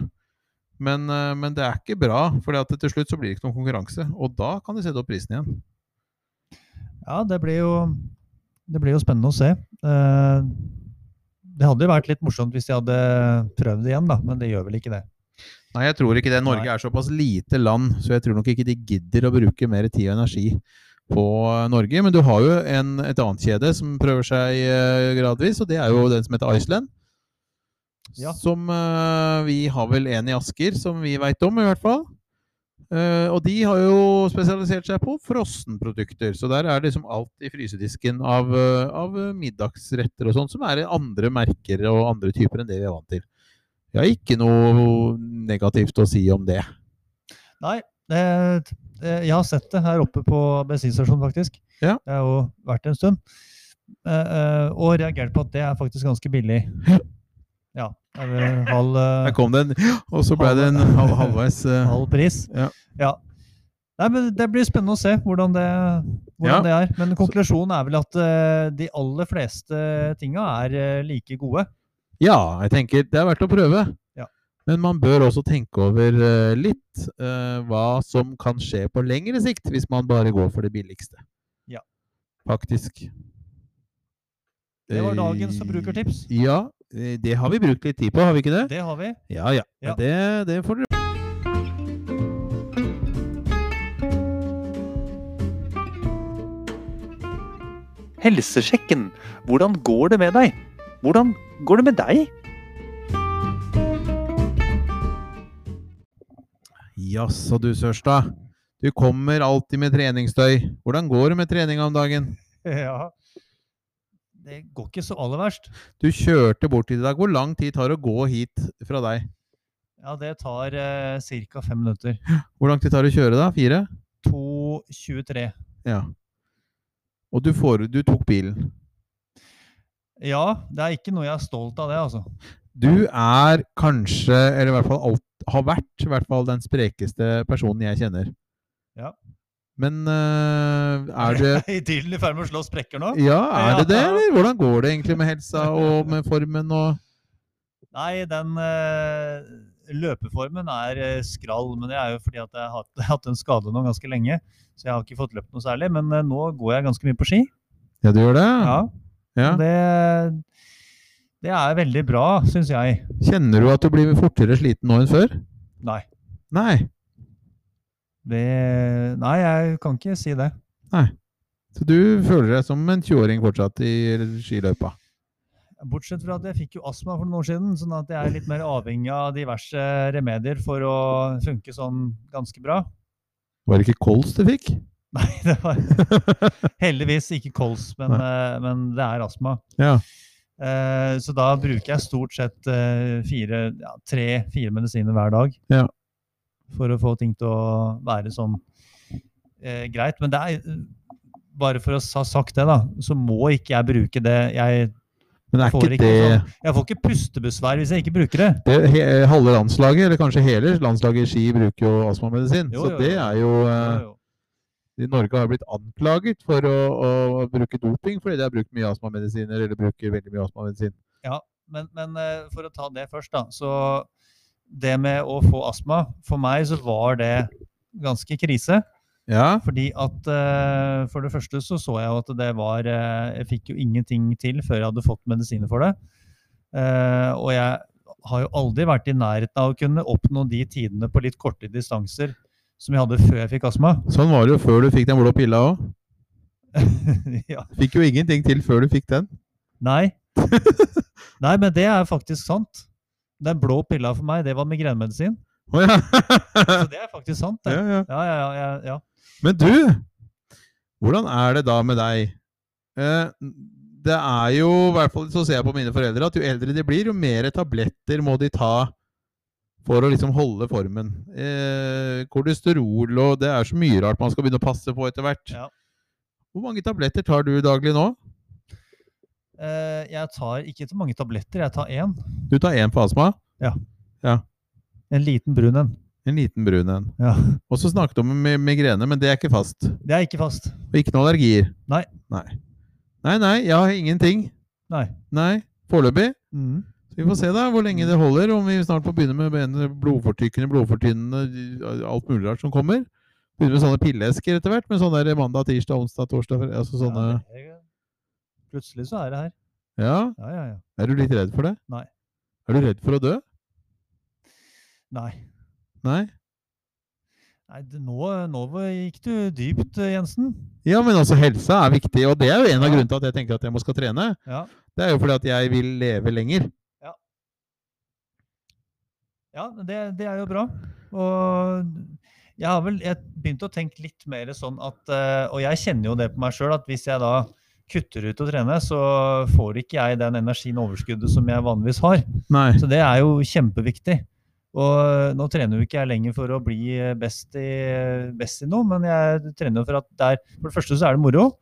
Men, eh, men det er ikke bra, for til slutt så blir det ikke noen konkurranse. Og da kan de sette opp prisen igjen.
Ja, det blir jo, det blir jo spennende å se. Eh, det hadde jo vært litt morsomt hvis de hadde prøvd igjen, da, men det gjør vel ikke det.
Nei, jeg tror ikke det. Norge
Nei.
er såpass lite land, så jeg tror nok ikke de gidder å bruke mer tid og energi på eh, Norge. Men du har jo en, et annet kjede som prøver seg eh, gradvis, og det er jo den som heter Iceland.
Ja.
Som eh, vi har vel en i Asker, som vi veit om, i hvert fall. Eh, og de har jo spesialisert seg på frossenprodukter. Så der er det liksom alt i frysedisken av, eh, av middagsretter og sånn, som er andre merker og andre typer enn det vi er vant til. Jeg har ikke noe negativt å si om det.
Nei, det, det, Eh, jeg har sett det her oppe på bensinstasjonen, faktisk.
Ja.
Det har jo vært en stund. Eh, eh, og reagert på at det er faktisk ganske billig. Ja. Er det halv, eh,
Der kom den, og så ble det en halv, halvveis eh,
halv pris.
Ja.
Ja. Nei, men Det blir spennende å se hvordan det, hvordan
Ja.
det er. Men konklusjonen er vel at eh, de aller fleste tinga er eh, like gode.
Ja, jeg tenker det er verdt å prøve.
Ja.
Men man bør også tenke over eh, litt eh, hva som kan skje på lengre sikt hvis man bare går for det billigste.
Ja.
Faktisk. Eh,
Det var dagens forbrukertips.
Ja, eh, det har vi brukt litt tid på, har vi ikke det?
Det har vi. <laughs>
Ja, ja.
Ja.
Men Det, det får dere
Helsesjekken. Hvordan går det med deg? Hvordan går det med deg?
Jaså du, Sørstad. Du kommer alltid med treningstøy. Hvordan går det med treninga om dagen?
Ja. det går ikke så aller verst.
Du kjørte bort hit i dag. Hvor lang tid tar det å gå hit fra deg?
Ja, det tar eh, ca. fem minutter.
Hvor lang tid tar det å kjøre, da? Fire?
2.23.
Ja. Og du, får, du tok bilen.
Ja, det er ikke noe jeg er stolt av, det, altså.
Du er kanskje, eller i hvert fall alt, har vært, i hvert fall den sprekeste personen jeg kjenner.
Ja.
Men øh, er
<laughs>
det
Idyllen i ferd med å slå sprekker nå?
Ja, er det det,
Ja.
eller? Hvordan går det egentlig med helsa og med formen og
Nei, den eh, løpeformen er eh, skral, men det er jo fordi at jeg har hatt- <laughs> jeg har hatt en skade nå ganske lenge. Så jeg har ikke fått løpt noe særlig, men eh, nå går jeg ganske mye på ski.
Ja, du gjør det? Ja.
og Det, det er veldig bra, syns jeg.
Kjenner du at du blir fortere sliten nå enn før?
Nei.
Nei.
Det, nei, jeg kan ikke si det.
Så du føler deg som en 20-åring fortsatt i skiløypa?
Bortsett fra at jeg fikk jo astma for noen år siden, sånn at jeg er litt mer avhengig av diverse remedier for å funke sånn ganske bra. <laughs>
Var det ikke kols du fikk? <laughs>
Nei, det var heldigvis ikke kols, men, eh, men det er astma.
Ja.
Eh, Så da bruker jeg stort sett eh, fire, ja, tre-fire medisiner hver dag.
Ja.
For å få ting til å være sånn eh, greit. Men det er bare for å ha sagt det, da, så må ikke jeg bruke det. Jeg
Men er
får
ikke
ikke,
det
sånn, jeg får ikke pustebesvær hvis jeg ikke bruker det.
det, he, Halve landslaget, eller kanskje hele landslaget i ski, bruker jo astmamedisin.
Jo,
Så
jo,
det
jo.
er jo eh,
Jo, jo.
i Norge har blitt anklaget for å, å bruke doping fordi de har brukt mye astmamedisiner, eller bruker veldig mye astmamedisin.
Men, men eh, for å ta det først, da. Så det med å få astma, for meg så var det ganske krise.
Ja.
Fordi at eh, For det første så så jeg jo at det var eh, Jeg fikk jo ingenting til før jeg hadde fått medisiner for det. Eh, og jeg har jo aldri vært i nærheten av å kunne oppnå de tidene på litt korte distanser som jeg hadde før jeg fikk astma. <laughs>
Sånn var det jo før du fikk den blå pilla òg.
ja.
Fikk jo ingenting til før du fikk den.
Nei. Nei, men det er faktisk sant. Den blå pilla for meg, det var migrenemedisin.
Å ja. <laughs>
Så det er faktisk sant.
ja,
Det.
ja.
Ja, ja, ja, ja, ja.
Men du, hvordan er det da med deg? Eh, det er jo, i hvert fall så ser jeg på mine foreldre, at jo eldre de blir, jo mer tabletter må de ta for å liksom holde formen. Eh, kolesterol og Det er så mye rart man skal begynne å passe på etter hvert.
Ja.
Hvor mange tabletter tar du daglig nå?
Eh, jeg tar ikke så mange tabletter, jeg tar én.
Du tar én for astma,
En liten brun en.
en liten brun en.
Ja.
Og så snakket du om mi- migrene, men det er ikke fast.
Det er ikke fast.
Og ikke noen allergier.
Nei.
Nei, nei, nei jeg har ingenting.
Nei.
Nei, Foreløpig.
Mm.
Vi får se da hvor lenge det holder, om vi snart får begynne med en blodfortykkende, blodfortynnende, alt mulig rart som kommer. Begynne med sånne pilleesker etter hvert, med sånne der mandag, tirsdag, onsdag, torsdag fre- altså sånne,
Ja, det er- Plutselig så er det her.
ja.
Ja, ja, ja.
Er du litt redd for det?
Nei.
Er du redd for å dø?
Nei.
Nei?
Nei det, nå, nå gikk du dypt, eh, Jensen.
Ja, men altså helsa er viktig, og det er jo en av grunnene til at jeg tenker at jeg må skal trene.
Ja.
Det er jo fordi at jeg vil leve lenger.
Ja, men det, det er jo bra. Og jeg har vel jeg begynt å tenke litt mer sånn at eh, Og jeg kjenner jo det på meg sjøl at hvis jeg da kutter ut å trene, så får ikke jeg den energien og overskuddet som jeg vanligvis har.
Nei.
Så det er jo kjempeviktig. Og nå trener jo ikke jeg lenger for å bli eh, best i, best i noe, men jeg trener jo for at det er For det første så er det moro.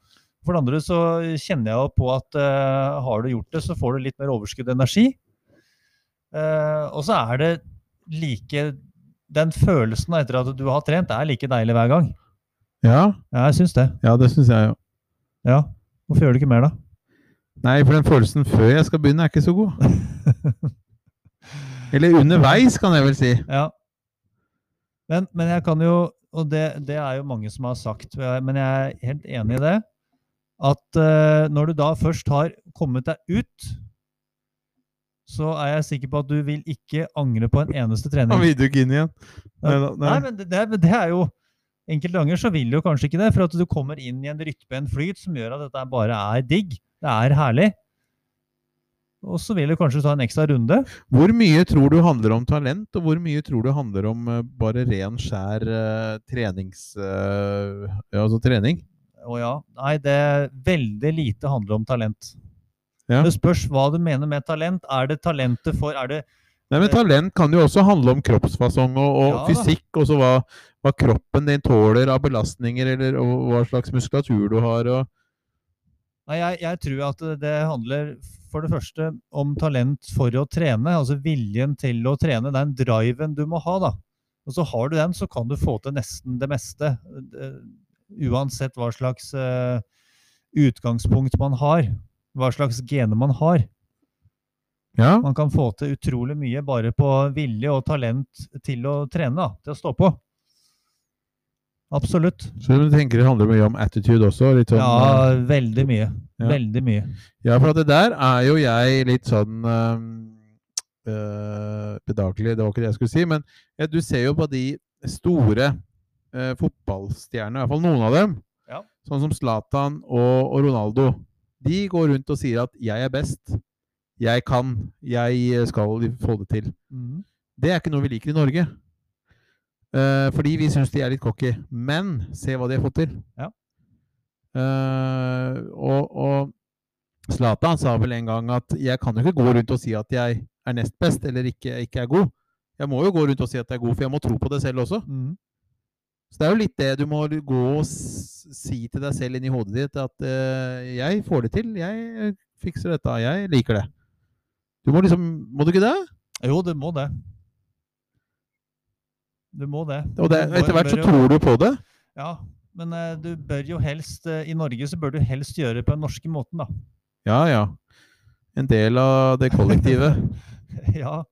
For det andre så kjenner jeg jo på at eh, har du gjort det, så får du litt mer overskudd og energi. Eh, og så er det like Den følelsen etter at du har trent, er like deilig hver gang.
Ja,
Ja, jeg syns det.
ja det syns jeg jo.
Ja. Hvorfor gjør du ikke mer, da?
Nei, for den følelsen før jeg skal begynne, er ikke så <laughs> god. Eller underveis, kan jeg vel si.
Ja. Men, men jeg kan jo, og det, det er jo mange som har sagt, men jeg er helt enig i det, at eh, når du da først har kommet deg ut, så er jeg sikker på at du vil ikke angre på en eneste trening.
Han vil du ikke inn igjen. Nei, da-
Nei, men det, det, er- det er jo Enkelte ganger så vil du jo kanskje ikke det, for at du kommer inn i en rytme, en flyt, som gjør at dette bare er digg. Det er herlig. Og så vil du kanskje ta en ekstra runde.
Hvor mye tror du handler om talent, og hvor mye tror du handler om eh, bare ren, skjær eh, trenings... eh, ja, altså trening?
Å ja. Nei, det veldig lite handler om talent.
Ja.
Det spørs hva du mener med talent. Er det talentet for Er det
Nei, men Talent kan jo også handle om kroppsfasong og, og
Ja da.
fysikk. Og så hva, hva kroppen din tåler av belastninger, eller og hva slags muskulatur du har. Og,
Nei, jeg, jeg tror at det handler for det første om talent for å trene, altså viljen til å trene, den driven du må ha, da. Og så har du den, så kan du få til nesten det meste. eh, Uansett hva slags eh, utgangspunkt man har, hva slags gener man har.
ja,
Man kan få til utrolig mye bare på vilje og talent til å trene, da, til å stå på. Absolutt.
Så du tenker det handler mye om attitude også? Litt sånn, eh,
Ja, veldig mye.
Ja.
Veldig mye.
Ja, for at det der er jo jeg litt sånn eh, eh, bedagelig. Det var ikke det jeg skulle si. Men ja, du ser jo på de store eh, fotballstjernene, i hvert fall noen av dem,
Ja.
sånn som Zlatan og, og Ronaldo. De går rundt og sier at 'jeg er best', 'jeg kan', 'jeg skal få det til'.
Mm,
Det er ikke noe vi liker i Norge. Eh, fordi vi syns de er litt cocky. Men se hva de har fått til.
Ja.
Eh, og, og Zlatan sa vel en gang at 'jeg kan jo ikke gå rundt og si at jeg er nest best', eller ikke, ikke er god. Jeg må jo gå rundt og si at jeg er god, for jeg må tro på det selv også.
Mhm.
Så det er jo litt det du må gå og s- si til deg selv inni hodet ditt, at eh, 'jeg får det til, jeg eh, fikser dette, jeg liker det'. Du må liksom Må du ikke det?
Jo, du må det. Du må det.
Og det,
Du må-
etter hvert så
bør jo-
tror du på det.
Ja, men eh, du bør jo helst eh, I Norge så bør du helst gjøre det på den norske måten, da. <laughs>
Ja, ja. En del av det kollektivet.
ja.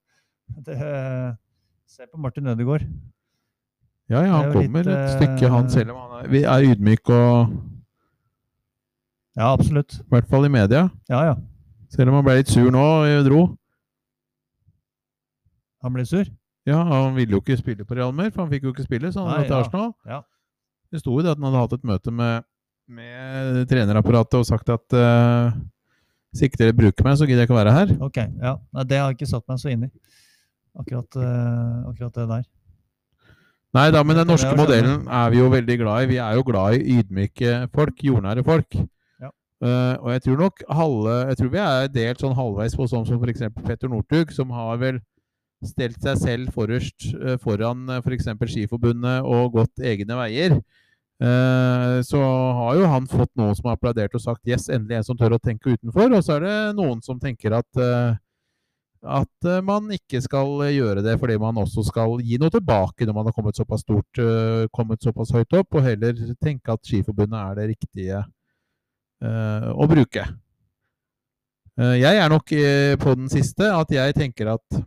Det, eh, se på Martin Ødegaard.
Ja, ja, han
Det er jo litt,
kommer et
eh,
stykke, han selv om han er, vi er ydmyk og
Ja, absolutt.
I hvert fall i media.
Ja, ja.
Selv om han ble litt sur nå og dro.
Han ble sur.
Ja, Han ville jo ikke spille på Real mer, for han fikk jo ikke spille, så han
Nei,
dro til
ja.
Arsenal.
Ja.
Det sto jo det at han hadde hatt et møte med, med trenerapparatet og sagt at eh, hvis ikke dere bruker meg, så gidder jeg ikke å være her.
Ok. ja. Nei, det har jeg ikke satt meg så inn i. Akkurat, eh, akkurat det der.
Nei da, men
Det
den
er
norske
å skjønne.
modellen er vi jo veldig glad i. Vi er jo glad i ydmyke folk, jordnære folk.
Ja.
Eh, og jeg tror nok halve Jeg tror vi er delt sånn halvveis på sånn som f.eks. Petter Northug, som har vel stelt seg selv forrest eh, foran f.eks. Skiforbundet og gått egne veier. Eh, så har jo han fått noen som har applaudert og sagt 'yes, endelig en som tør å tenke utenfor', og så er det noen som tenker at eh, at eh, man ikke skal eh, gjøre det fordi man også skal gi noe tilbake når man har kommet såpass stort, eh, kommet såpass høyt opp, og heller tenke at Skiforbundet er det riktige eh, å bruke. Eh, Jeg er nok eh, på den siste at jeg tenker at,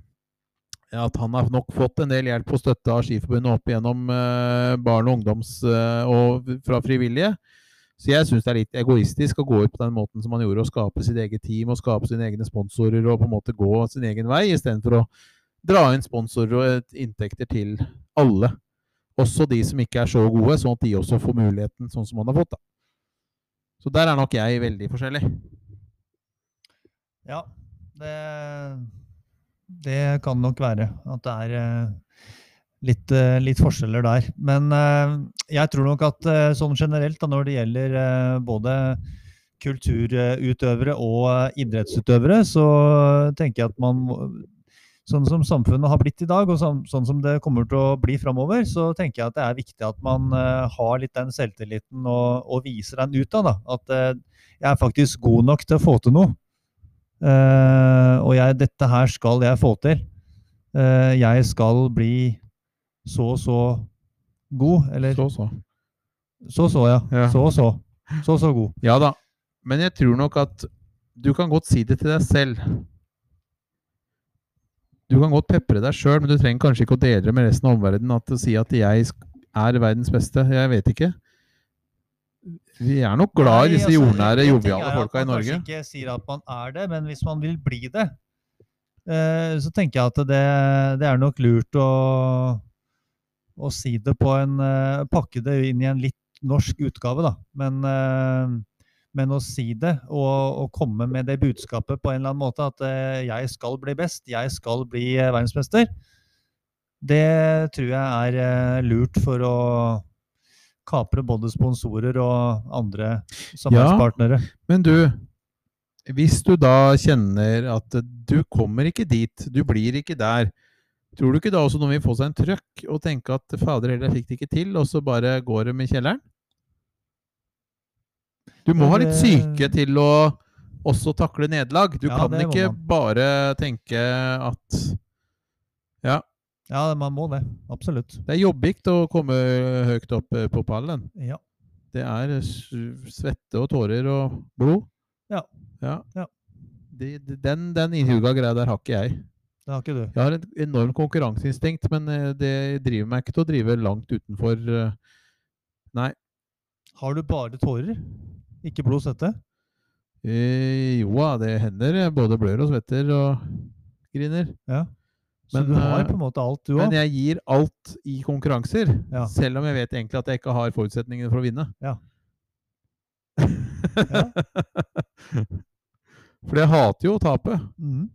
at han har nok fått en del hjelp og støtte av Skiforbundet opp gjennom eh, barn og ungdoms eh, og fra frivillige. Så jeg syns det er litt egoistisk å gå ut på den måten som man gjorde, og skape sitt eget team og skape sine egne sponsorer og på en måte gå sin egen vei, istedenfor å dra inn sponsorer og eh, inntekter til alle. Også de som ikke er så gode, sånn at de også får muligheten, sånn som man har fått. da. Så der er nok jeg veldig forskjellig.
Ja, det, det kan nok være at det er eh, litt, eh, litt forskjeller der. Men eh, jeg tror nok at eh, sånn generelt, da, når det gjelder eh, både kulturutøvere og eh, idrettsutøvere, så tenker jeg at man må- Sånn som samfunnet har blitt i dag, og sånn, sånn som det kommer til å bli framover, så tenker jeg at det er viktig at man eh, har litt den selvtilliten og, og viser den ut av. Da. At eh, jeg er faktisk god nok til å få til noe. Eh, og jeg, dette her skal jeg få til. Eh, jeg skal bli så og så god. Eller
Så, så.
så så, ja.
Ja.
Så og så. Så så god.
Ja da. Men jeg tror nok at du kan godt si det til deg selv. Du kan godt pepre deg sjøl, men du trenger kanskje ikke å dele det med resten av omverdenen. At å si at 'jeg sk- er verdens beste', jeg vet ikke. Vi er nok glad
Nei,
i disse
altså,
jordnære,
en ting er
joviale
at
folka i
man
Norge.
Kanskje ikke sier at man er det, men hvis man vil bli det, eh, så tenker jeg at det, det er nok lurt å, å si det på en eh, Pakke det inn i en litt norsk utgave, da. Men, eh, men å si det og, og komme med det budskapet på en eller annen måte, at eh, jeg skal bli best, jeg skal bli eh, verdensmester, det tror jeg er eh, lurt for å kapre både sponsorer og andre samarbeidspartnere.
Men du, Hvis du da kjenner at eh, du kommer ikke dit, du blir ikke der, tror du ikke da også noen vil få seg en trøkk og tenke at fader heller, jeg fikk det ikke til, og så bare går de i kjelleren? Du må
Ja,
ha litt
det-
syke til å også takle nederlag. Du
Ja,
kan
det må
ikke
man.
bare tenke at
Ja, man må det. Absolutt.
det er jobbigt å komme høyt opp eh, på pallen.
Ja.
Det er s- svette og tårer og blod.
Ja.
ja.
Ja.
De, de- den den innhuga greia der har ikke jeg.
Det har ikke du.
Jeg har et enormt konkurranseinstinkt, men eh, det driver meg ikke til å drive langt utenfor eh,
Har du bare tårer? Ikke blod og svette?
eh, Jo da, det hender. Jeg både blør og svetter og griner.
Ja. Så
Men,
du har
eh,
på en måte alt, du
Men
òg?
jeg gir alt i konkurranser,
Ja.
selv om jeg vet egentlig at jeg ikke har forutsetningene for å vinne. <laughs>
Ja.
For jeg hater jo å tape.
Mhm.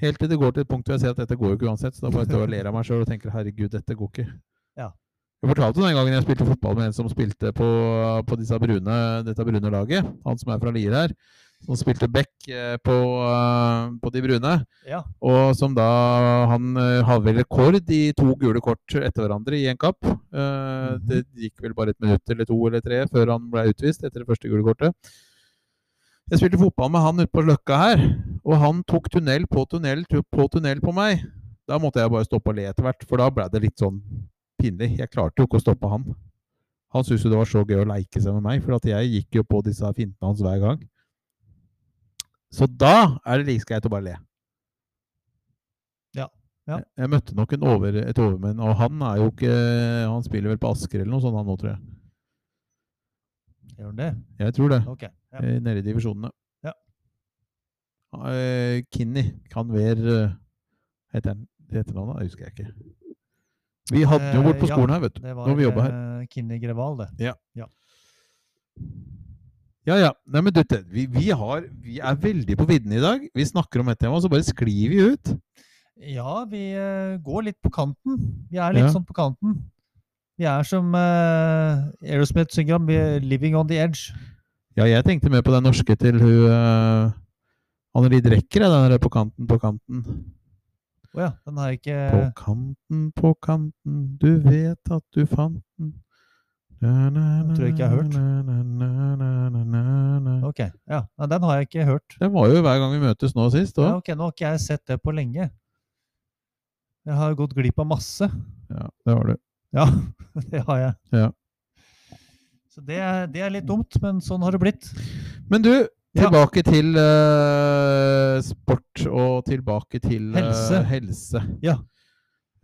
Helt til det går til et punkt hvor jeg ser at dette går jo ikke uansett. Så da bare står jeg og ler av meg sjøl og tenker herregud, dette går ikke.
Ja.
Jeg fortalte den gangen jeg spilte fotball med en som spilte på, på disse brune, dette brune laget. Han som er fra Lier her. Som spilte back eh, på, eh, på de brune.
Ja.
Og som da Han eh, hadde vel rekord i to gule kort etter hverandre i en kapp. Eh, Det gikk vel bare et minutt eller to eller tre før han ble utvist etter det første gule kortet. Jeg spilte fotball med han ute på Løkka her, og han tok tunnel på tunnel tu- på tunnel på meg. Da måtte jeg bare stoppe og le etter hvert, for da ble det litt sånn pinlig. Jeg klarte jo ikke å stoppe han. Han syntes jo det var så gøy å leike seg med meg, for at jeg gikk jo på disse fintene hans hver gang. Så da er det like greit å bare le.
Ja.
Jeg- Jeg møtte nok en over, et overmenn, og han er jo ikke Han spiller vel på Asker eller noe sånt, han nå, tror jeg.
Gjør den det?
Jeg tror det.
Ok. Ja.
eh, Nede i divisjonene.
Ja.
Eh, Kinney kan være eh, Heter han etternavnet? Det husker jeg ikke. Vi hadde jo bort på
Eh, ja.
skolen her, vet du.
Det var
Når vi jobba her.
eh, Kinni Greval, det.
Ja, ja. Nei, men du, det- vi, vi, har, vi er veldig på viddene i dag. Vi snakker om et tema, så bare sklir vi ut.
Ja, vi eh, går litt på kanten. Vi er litt
Ja.
sånn på kanten. Vi er som eh, Aerosmith synger om, vi er 'living on the edge'.
Ja, jeg tenkte mer på den norske til hun uh, Anneli Drecker, jeg, den der på kanten, på kanten.
Å ja, den har jeg ikke
På kanten, på kanten, du vet at du fant den. Na, na,
Den tror jeg ikke jeg har hørt.
na, na, na, na, na, na, na.
Ok, ja, Nei, den har jeg ikke hørt.
Den var jo hver gang vi møtes nå sist
Ja,
òg.
ok, Nå har ikke jeg sett det på lenge. Jeg har gått glipp av masse.
Ja, det var det.
Ja, <laughs> det har jeg.
Ja.
Så det er, det er litt dumt, men sånn har det blitt.
Men du,
Ja.
tilbake til eh, sport og tilbake til eh,
Helse.
helse.
Ja.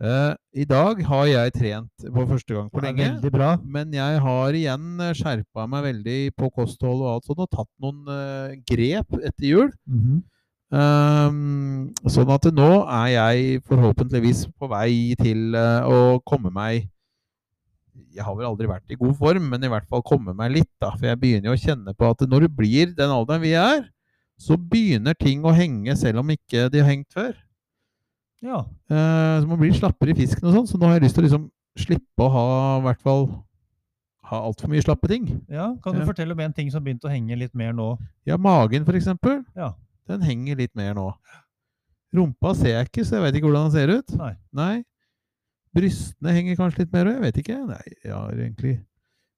Eh, I dag har jeg trent for første gang på
Det er
lenge.
Veldig bra.
Men jeg har igjen eh, skjerpa meg veldig på kosthold og alt sånt, og tatt noen eh, grep etter jul. Mhm. Ehm, sånn at nå er jeg forhåpentligvis på vei til eh, å komme meg Jeg har vel aldri vært i god form, men i hvert fall komme meg litt, da. For jeg begynner jo å kjenne på at når du blir den alderen vi er, så begynner ting å henge selv om ikke de har hengt før.
Ja.
Eh, så man blir slappere i fisken og sånn, så nå har jeg lyst til å liksom slippe å ha i hvert fall ha altfor mye slappe ting.
ja. Kan du
Ja.
fortelle om en ting som begynte å henge litt mer nå?
Ja, magen for eksempel.
Ja.
Den henger litt mer nå. Rumpa ser jeg ikke, så jeg vet ikke hvordan den ser ut.
Nei.
Brystene henger kanskje litt mer òg, jeg vet ikke. Nei, jeg har egentlig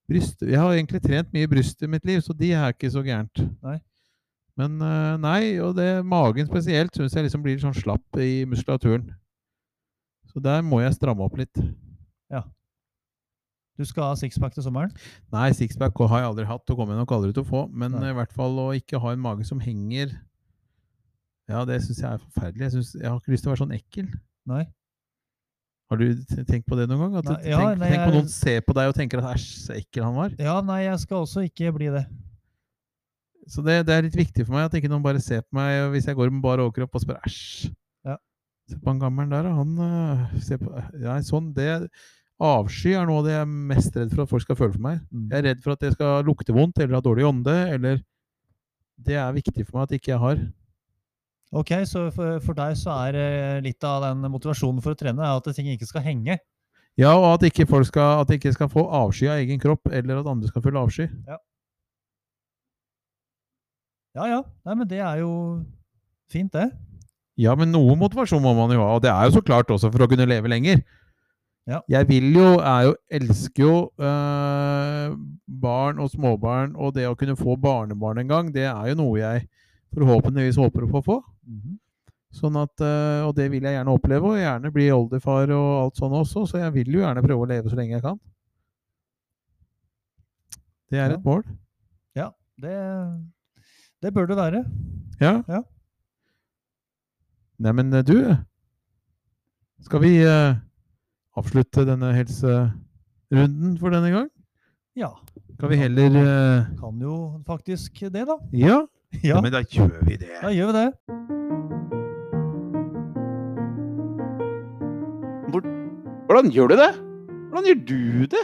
bryst, Jeg har egentlig trent mye bryst i mitt liv, så de er ikke så gærent.
Nei.
Men eh, nei, og det, magen spesielt syns jeg liksom blir sånn slapp i muskulaturen. Så der må jeg stramme opp litt.
Du skal ha sixpack til sommeren?
Nei, sixpack har jeg aldri hatt, og kommer jeg nok aldri til å få. Men eh,
Nei.
i hvert fall å ikke ha en mage som henger Ja, det syns jeg er forferdelig. Jeg, synes, jeg har ikke lyst til å være sånn ekkel.
Nei.
Har du t- tenkt på det noen gang? At
Nei,
du
ja,
tenk,
nei,
tenk på
jeg-
noen ser på deg og tenker at æsj, så ekkel han var.
Ja, nei, jeg skal også ikke bli det.
Så det, det er litt viktig for meg at ikke noen bare ser på meg hvis jeg går med bar overkropp og spør æsj.
Ja.
Se på han gammelen der, da. han øh, ser på Nei, sånn. Det Avsky er noe av det jeg er mest redd for at folk skal føle for meg. Jeg er redd for at jeg skal lukte vondt eller ha dårlig ånde, eller Det er viktig for meg at ikke jeg har.
Ok, så for, for deg så er eh, litt av den motivasjonen for å trene er at ting ikke skal henge.
Ja, og at ikke folk skal, at de ikke skal få avsky av egen kropp, eller at andre skal føle avsky.
Ja. Ja ja, Nei, men det er jo fint, det.
Ja, men noe motivasjon må man jo ha, og det er jo så klart også for å kunne leve lenger.
Ja.
Jeg vil jo, er jo, elsker jo eh, barn og småbarn, og det å kunne få barnebarn en gang, det er jo noe jeg forhåpentligvis håper å få få. Sånn at, eh, Og det vil jeg gjerne oppleve, og gjerne bli oldefar og alt sånn også, så jeg vil jo gjerne prøve å leve så lenge jeg kan. Det er
Ja.
et mål.
Det, det bør det være.
Ja.
Ja.
Neimen, du Skal vi eh, avslutte denne helserunden for denne gang?
Ja.
Skal vi heller eh,
Kan jo faktisk det, da.
ja?
Ja,
Men da gjør vi det.
da gjør vi det.
Hvordan gjør du det? Hvordan gjør du det?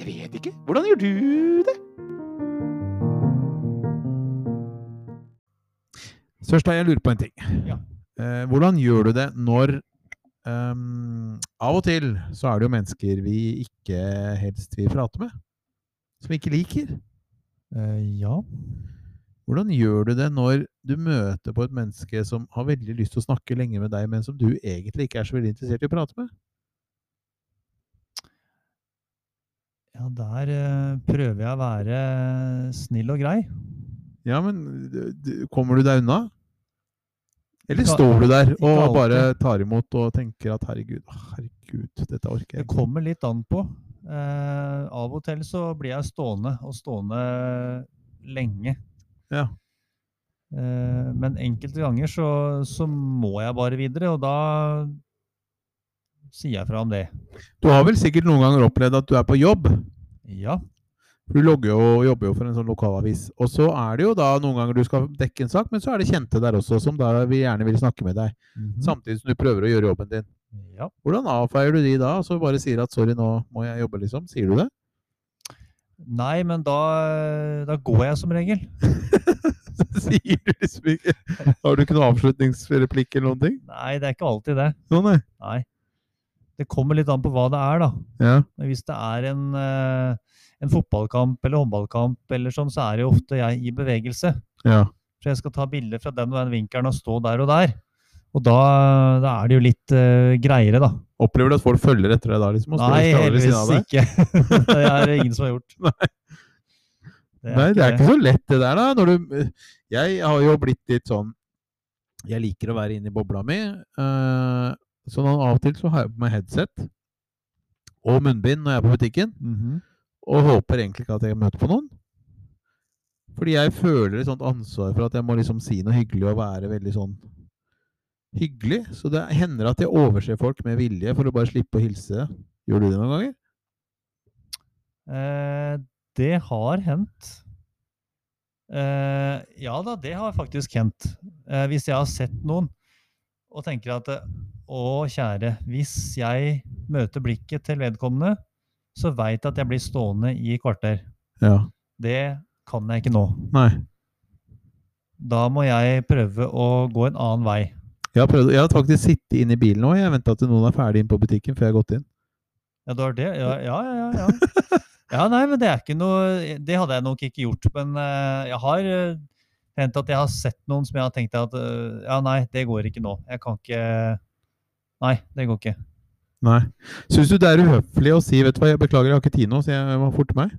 Jeg vet ikke. Hvordan gjør du det?
Sørstad, jeg lurer på en ting.
Ja.
Eh, hvordan gjør du det når ehm, Av og til så er det jo mennesker vi ikke helst vil prate med. Som vi ikke liker.
Eh, ja.
Hvordan gjør du det når du møter på et menneske som har veldig lyst til å snakke lenge med deg, men som du egentlig ikke er så veldig interessert i å prate med?
ja, der eh, prøver jeg å være snill og grei.
Ja, men d- d- kommer du deg unna? Eller
Ikke al-
står du der
ikke
og
alltid.
bare tar imot og tenker at herregud, å, herregud, dette orker jeg
Det
ikke.
kommer litt an på. Eh, av og til så blir jeg stående, og stående lenge.
Ja.
Eh, men enkelte ganger så, så må jeg bare videre, og da sier jeg fra om det.
Du har vel sikkert noen ganger opplevd at du er på jobb?
Ja.
For Du logger jo, jobber jo for en sånn lokalavis. Og så er det jo da noen ganger du skal dekke en sak, men så er det kjente der også, som da vi gjerne vil snakke med deg. Samtidig som du prøver å gjøre jobben din.
Mhm. ja.
Hvordan avfeier du de da? Så bare sier at 'sorry, nå må jeg jobbe', liksom? Sier du det? <laughs>
Nei, men da, da går jeg som regel.
sier du liksom ikke Har du ikke noen avslutningsreplikk eller noen ting?
Nei, det er ikke alltid det.
Sånn, nei.
Nei. Det kommer litt an på hva det er, da.
Ja.
Men hvis det er en, eh, en fotballkamp eller håndballkamp, eller sånn, så er det jo ofte jeg i bevegelse.
ja.
For jeg skal ta bilder fra den og den vinkelen og stå der og der. Og da, da er det jo litt eh, greiere, da.
Opplever du at folk følger etter deg da? liksom? og står og
Nei,
skravler ved siden av
heldigvis
deg?
ikke. <laughs> det er det ingen som har gjort.
<laughs> Nei.
Det er
Nei, det er ikke så lett det der, da. Når du, jeg har jo blitt litt sånn Jeg liker å være inne i bobla mi. eh, så noen av og til så har jeg på meg headset og munnbind når jeg er på butikken,
Mhm.
og håper egentlig ikke at jeg møter på noen. Fordi jeg føler et sånt ansvar for at jeg må liksom si noe hyggelig og være veldig sånn hyggelig. Så det hender at jeg overser folk med vilje for å bare slippe å hilse. Gjør du det noen ganger?
Eh, det har hendt. Eh, ja da, det har faktisk hendt. Eh, hvis jeg har sett noen og tenker at eh, Å, kjære, hvis jeg møter blikket til vedkommende, så veit jeg at jeg blir stående i et kvarter.
Ja.
Det kan jeg ikke nå.
Nei.
Da må jeg prøve å gå en annen vei.
Jeg har, prøvd, jeg har faktisk sittet inne i bilen nå. Jeg venta til noen er ferdig inne på butikken før jeg har gått inn.
Ja, det var det. Ja, ja, ja. ja, ja. ja nei, men det er ikke noe Det hadde jeg nok ikke gjort. Men eh, jeg har eh, hendt at jeg har sett noen som jeg har tenkt at eh, Ja, nei, det går ikke nå. Jeg kan ikke Nei, det går ikke.
Nei. Syns du det er uhøflig å si 'vet du hva, jeg beklager, jeg har ikke tid nå, så jeg må forte meg'?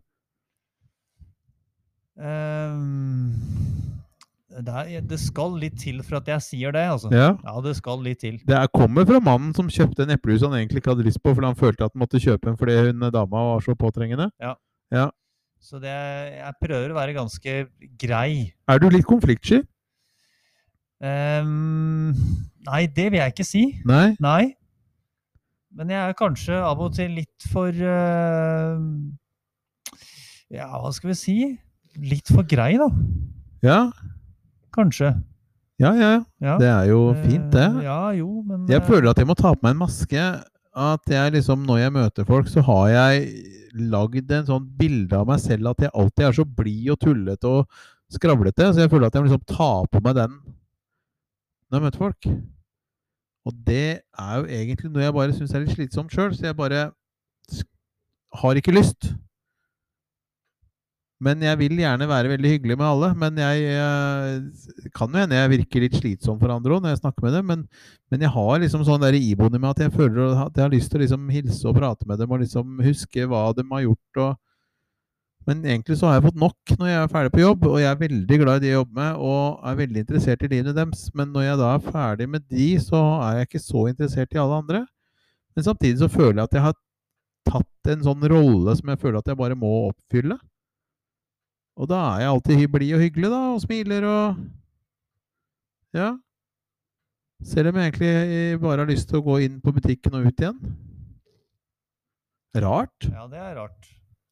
Eh, det, er, det skal litt til for at jeg sier det, altså.
Ja.
Ja, det skal litt til.
Det er, kommer fra mannen som kjøpte en eplehus han egentlig ikke hadde lyst på, fordi han følte at han måtte kjøpe en fordi hun eh, dama var så påtrengende.
Så det, jeg prøver å være ganske grei.
Er du litt konfliktsky?
Ehm, nei, det vil jeg ikke si.
Nei?
Nei. Men jeg er kanskje av og til litt for eh, Ja, hva skal vi si? Litt for grei, da.
Ja,
Kanskje.
ja, ja. ja.
Ja.
Det er jo fint,
Eh,
det.
Ja, jo, men
Jeg
eh,
føler at jeg må ta på meg en maske. At jeg liksom, når jeg møter folk, så har jeg lagd en sånn bilde av meg selv at jeg alltid er så blid og tullete og skravlete. Så jeg føler at jeg må liksom tar på meg den når jeg møter folk. Og det er jo egentlig noe jeg bare syns er litt slitsomt sjøl, så jeg bare sk- har ikke lyst. Men jeg vil gjerne være veldig hyggelig med alle. Men jeg eh, kan jo hende jeg virker litt slitsom for andre òg når jeg snakker med dem. Men, men jeg har liksom sånn der iboende med at jeg føler at jeg har lyst til å liksom hilse og prate med dem og liksom huske hva de har gjort. og men egentlig så har jeg fått nok når jeg er ferdig på jobb, og jeg er veldig glad i det jeg jobber med, og er veldig interessert i livet deres. Men når jeg da er ferdig med de, så er jeg ikke så interessert i alle andre. Men samtidig så føler jeg at jeg har tatt en sånn rolle som jeg føler at jeg bare må oppfylle. Og da er jeg alltid hy- blid og hyggelig, da, og smiler og Ja. Selv om jeg egentlig eh, bare har lyst til å gå inn på butikken og ut igjen. Rart.
Ja, det er rart.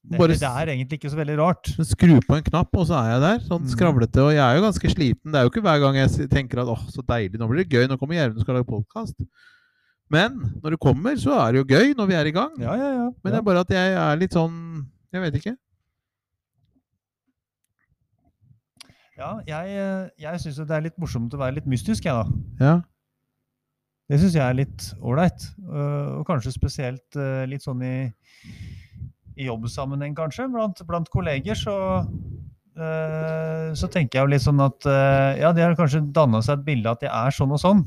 Det,
Bare
det er egentlig ikke så veldig rart.
Men Sånn, skru på en knapp, og så er jeg der. Sånn
Mm.
skravlete. Og jeg er jo ganske sliten. Det er jo ikke hver gang jeg s- tenker at åh, så deilig, nå blir det gøy. Nå kommer Gjermund og skal lage podkast. Men når du kommer, så er det jo gøy når vi er i gang.
Ja, ja, ja.
Men det er bare at jeg er litt sånn Jeg vet ikke.
ja jeg eh, jeg syns jo det er litt morsomt å være litt mystisk, jeg, da.
Ja.
Det syns jeg er litt ålreit. øh, Og kanskje spesielt øh, litt sånn i, i jobbsammenheng, kanskje. Blant, blant kolleger så, øh, så tenker jeg jo litt sånn at øh, Ja, de har kanskje danna seg et bilde at jeg er sånn og sånn.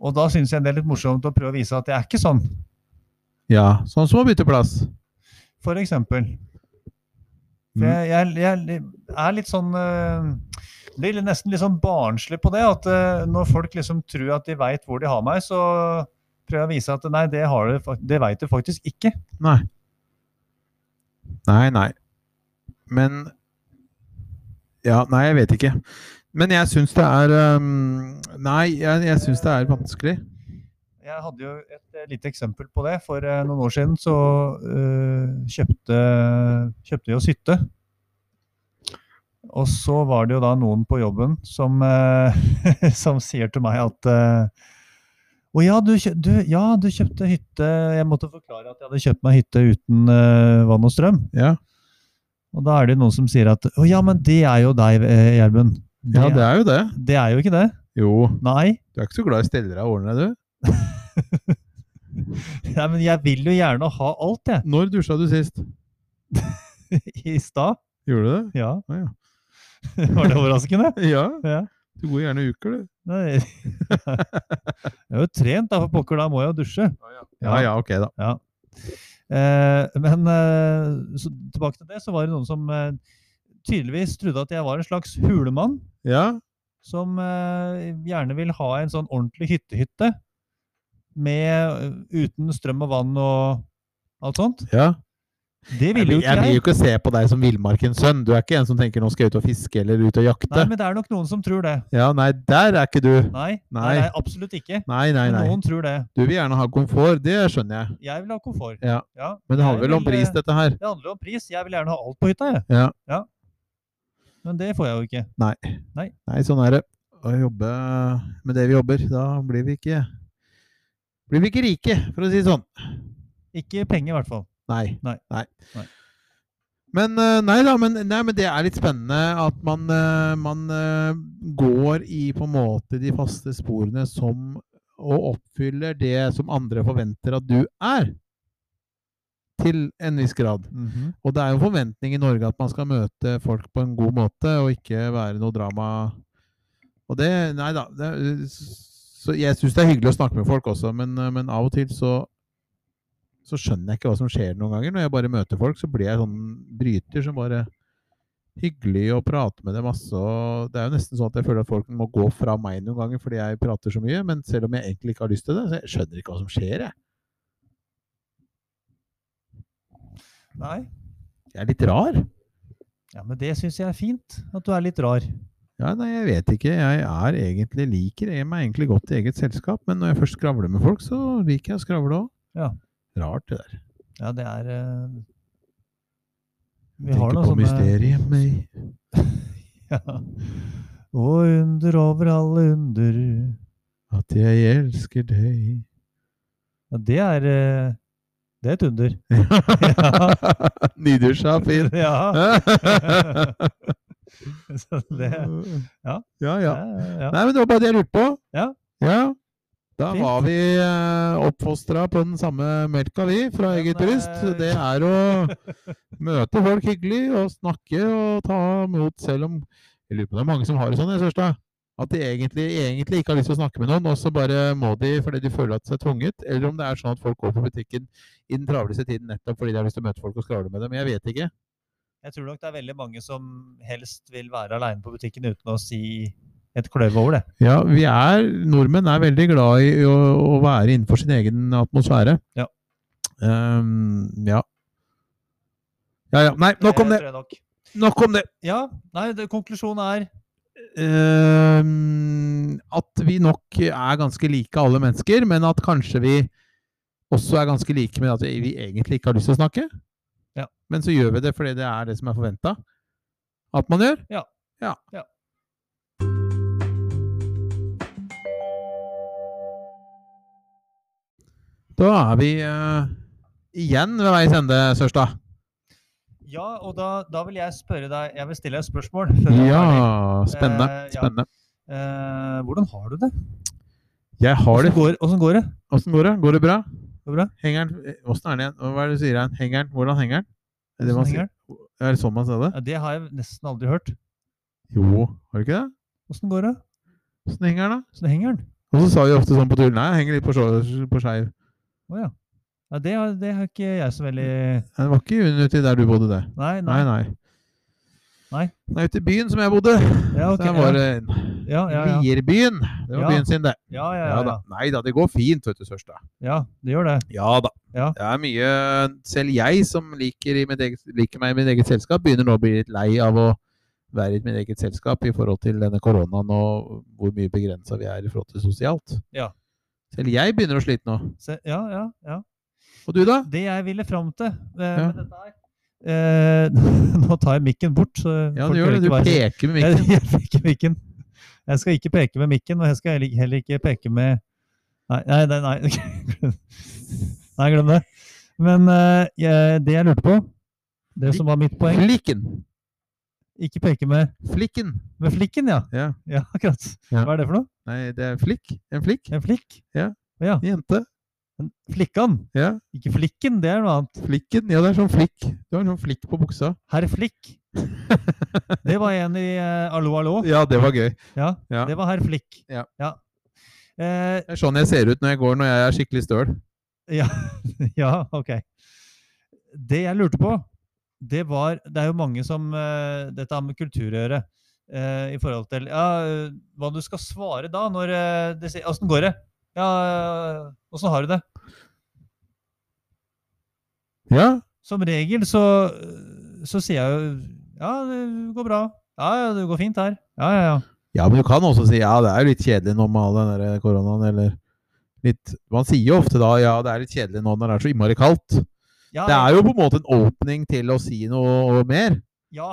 Og da syns jeg det er litt morsomt å prøve å vise at jeg er ikke sånn,
ja. Sånn som å bytte plass.
for eksempel. For jeg, jeg, jeg er litt sånn øh, Blir litt- nesten litt sånn barnslig på det. At øh, når folk liksom tror at de veit hvor de har meg, så prøver jeg å vise at nei, det, har du fak- det veit du faktisk ikke.
Nei. Nei, nei. Men Ja, nei, jeg vet ikke. Men jeg syns det er øhm, Nei, jeg, jeg syns det er vanskelig.
Jeg hadde jo et eh, lite eksempel på det. For eh, noen år siden så eh, kjøpte, kjøpte vi oss hytte. Og så var det jo da noen på jobben som, eh, <laughs> som sier til meg at eh, Å ja du, kjø du, ja, du kjøpte hytte Jeg måtte forklare at jeg hadde kjøpt meg hytte uten eh, vann og strøm.
Ja.
Og da er det jo noen som sier at Å ja, men det er jo deg, eh, Gjermund.
ja, det er jo det.
det er jo ikke det.
Jo.
Nei. <laughs>
Du er ikke så glad i steller av årene, du.
Nei, men jeg vil jo gjerne ha alt, jeg.
Når dusja du sist?
<laughs> I stad.
Gjorde du det?
Ja.
Å, ja.
<laughs> Var det overraskende?
Ja.
Ja.
Du går gjerne uker, du.
Nei. <laughs> Jeg er jo trent, da, for pokker. Da må jeg jo dusje.
Ja ja, ok, da.
Eh, men eh, så, tilbake til det, så var det noen som eh, tydeligvis trodde at jeg var en slags hulemann.
Ja.
Som eh, gjerne vil ha en sånn ordentlig hyttehytte. Med, uten strøm og vann og alt sånt.
ja.
Det
Jeg
ville jo
vil
ikke
jo
jeg.
ikke se på deg som villmarkens sønn. Du er ikke en som tenker 'nå skal jeg ut og fiske' eller 'ut og
Nei,
jakte'.
men det er nok noen som tror det.
Ja, nei, der er ikke du.
Nei,
Nei.
det er jeg absolutt ikke.
Nei, nei,
Men
nei.
noen tror det.
Du vil gjerne ha komfort, det skjønner jeg.
Jeg vil ha komfort.
Ja.
Ja,
Men det
jeg
handler vel
vil,
om
eh,
pris, dette her.
Det handler om pris. Jeg vil gjerne ha alt på hytta, jeg.
Ja.
Men det får jeg jo ikke.
Nei.
Nei.
sånn er det. Å jobbe med det vi jobber, da blir vi ikke Blir vi ikke rike, for å si det sånn.
Ikke penger, i hvert fall.
Nei.
Nei. Nei.
Men, eh, nei da, men, nei, men det er litt spennende at man, eh, man eh, går i på en måte de faste sporene som og oppfyller det som andre forventer at du er. Til en viss grad. Og det er jo en forventning i Norge at man skal møte folk på en god måte, og ikke være noe drama. Og det Nei da. Det, så jeg syns det er hyggelig å snakke med folk også, men, men av og til så så skjønner jeg ikke hva som skjer noen ganger. Når jeg bare møter folk, så blir jeg sånn bryter som bare Hyggelig å prate med dem masse. og Det er jo nesten sånn at jeg føler at folk må gå fra meg noen ganger fordi jeg prater så mye, men selv om jeg egentlig ikke har lyst til det, så jeg skjønner ikke hva som skjer, jeg.
Nei.
Jeg er litt rar.
Ja, Men det syns jeg er fint. At du er litt rar.
Ja, nei, jeg vet ikke. Jeg er egentlig liker jeg meg egentlig godt i eget selskap, men når jeg først skravler med folk, så liker jeg å skravle òg.
Ja.
Rart, det der.
Ja, det er eh, Vi
Tenker
har
på
noe sånne
mysteriet med
<laughs> ja. Og under over alle under
at jeg elsker deg
Ja, det er eh, Det er et under. <laughs>
<laughs> Nydusja, fin!
Ja. Så det,
ja.
ja.
ja,
ja, ja.
Nei, men det var bare det jeg lurte på.
Ja.
Ja. Da
Fint.
var vi eh, oppfostra på den samme melka, vi,
Den
fra
eh,
eget bryst.
er-
Det er å møte folk hyggelig og snakke og ta imot, selv om Jeg lurer på om det er mange som har det sånn, jeg, Sørstad. At de egentlig, egentlig ikke har lyst til å snakke med noen, og så bare må de fordi de føler at de er tvunget. Eller om det er sånn at folk går på butikken i den travleste tiden nettopp fordi de har lyst til å møte folk og skravle med dem. Jeg vet ikke.
Jeg tror nok det er veldig mange som helst vil være aleine på butikken uten å si et kløve over det.
Ja, vi er, nordmenn er veldig glad i å, å være innenfor sin egen atmosfære.
Ja.
Ehm, ja. ja, ja. Nei, nok om det!
tror jeg nok.
Nok om det!
Ja, nei, det, konklusjonen er
Ehm, at vi nok er ganske like alle mennesker, men at kanskje vi også er ganske like, men at vi, vi egentlig ikke har lyst til å snakke.
Ja.
Men så gjør vi det fordi det er det som er forventa at man gjør.
Ja.
ja.
Ja.
Da er vi eh, igjen ved veis ende, Sørstad.
Ja, og da, da vil jeg spørre deg Jeg vil stille deg et spørsmål. før vi er ferdig.
Ja, spennende.
Eh, ja.
spennende.
Eh, hvordan har du det?
Jeg har det.
Åssen går, åssen går det?
Åssen går det? Går det bra?
Går det bra?
Hengeren eh, Åssen er det igjen? Hva er det du sier igjen? Hengeren? Hvordan henger den? Er det,
Åssen
man
henger
sier?
den?
er det sånn man sier det?
Ja, det har jeg nesten aldri hørt.
Jo, har du ikke det?
Åssen går det?
Åssen henger den, da?
Åssen henger den?
Og så sa vi ofte sånn på tull Nei, jeg henger litt på, skjå- på skeiv.
Å ja. ja det, har, det har ikke jeg så veldig
Nei, Det var ikke uti der du bodde, det.
Nei, nei.
Nei, nei.
Nei.
Nei, ute i byen som jeg bodde.
Ja, ok,
Der
ja.
var det en
Ja, ja, ja.
Lierbyen. Det var
Ja.
byen sin, det.
Ja, ja,
Ja
ja,
da.
ja.
Nei da, det går fint, vet du, Sørstad.
ja, det gjør det.
Ja da.
Ja.
Det er mye Selv jeg som liker, i mitt eget, liker meg i mitt eget selskap, begynner nå å bli litt lei av å være i mitt eget selskap i forhold til denne koronaen og hvor mye begrensa vi er i forhold til sosialt.
Ja.
Selv jeg begynner å slite nå.
Se, ja, ja, ja.
Og du, da?
Det jeg ville fram til eh,
Ja.
med dette her eh, <laughs> Nå tar jeg mikken bort. Så
Ja,
folk
du gjør
hører
det. Du
ikke hva jeg sier.
peker med mikken.
<laughs> Jeg, jeg peker mikken. Jeg skal ikke peke med mikken, og jeg skal heller ikke- heller ikke peke med Nei, nei, nei. <laughs> Nei, nei glem det. Men eh, jeg, det jeg lurte på, det som var mitt poeng
Flikken.
Ikke peke med,
Flikken.
med flikken, ja.
Ja.
Ja, akkurat.
Ja.
Hva er det for noe?
Nei, det er flikk. En flikk.
En flikk?
En jente.
En Flikkan?
Ja.
Ikke flikken, det er noe annet.
Flikken. Ja, det er sånn flikk. Du har en sånn flikk på buksa.
Herr
<laughs>
Flikk. Det var en i eh, Allo, allo.
Ja, det var gøy.
Ja,
Ja.
det var herr Flikk.
Ja.
Eh, <laughs>
Det er sånn jeg ser ut når jeg går når jeg er skikkelig støl.
ja, ja, ok. Det jeg lurte på, det var Det er jo mange som eh, Dette har med kultur å gjøre. Eh, I forhold til ja, eh, hva du skal svare da når eh, det sier Åssen går det? Ja, eh, åssen har du det?
Ja.
Som regel så, så sier jeg jo Ja, det går bra. Ja, ja, det går fint her. Ja, ja, ja.
Ja, men du kan også si ja, det er jo litt kjedelig nå med all den der koronaen, eller litt Man sier jo ofte da ja, det er litt kjedelig nå når det er så innmari kaldt.
ja
Det er jo på en måte en åpning til å si noe mer.
ja,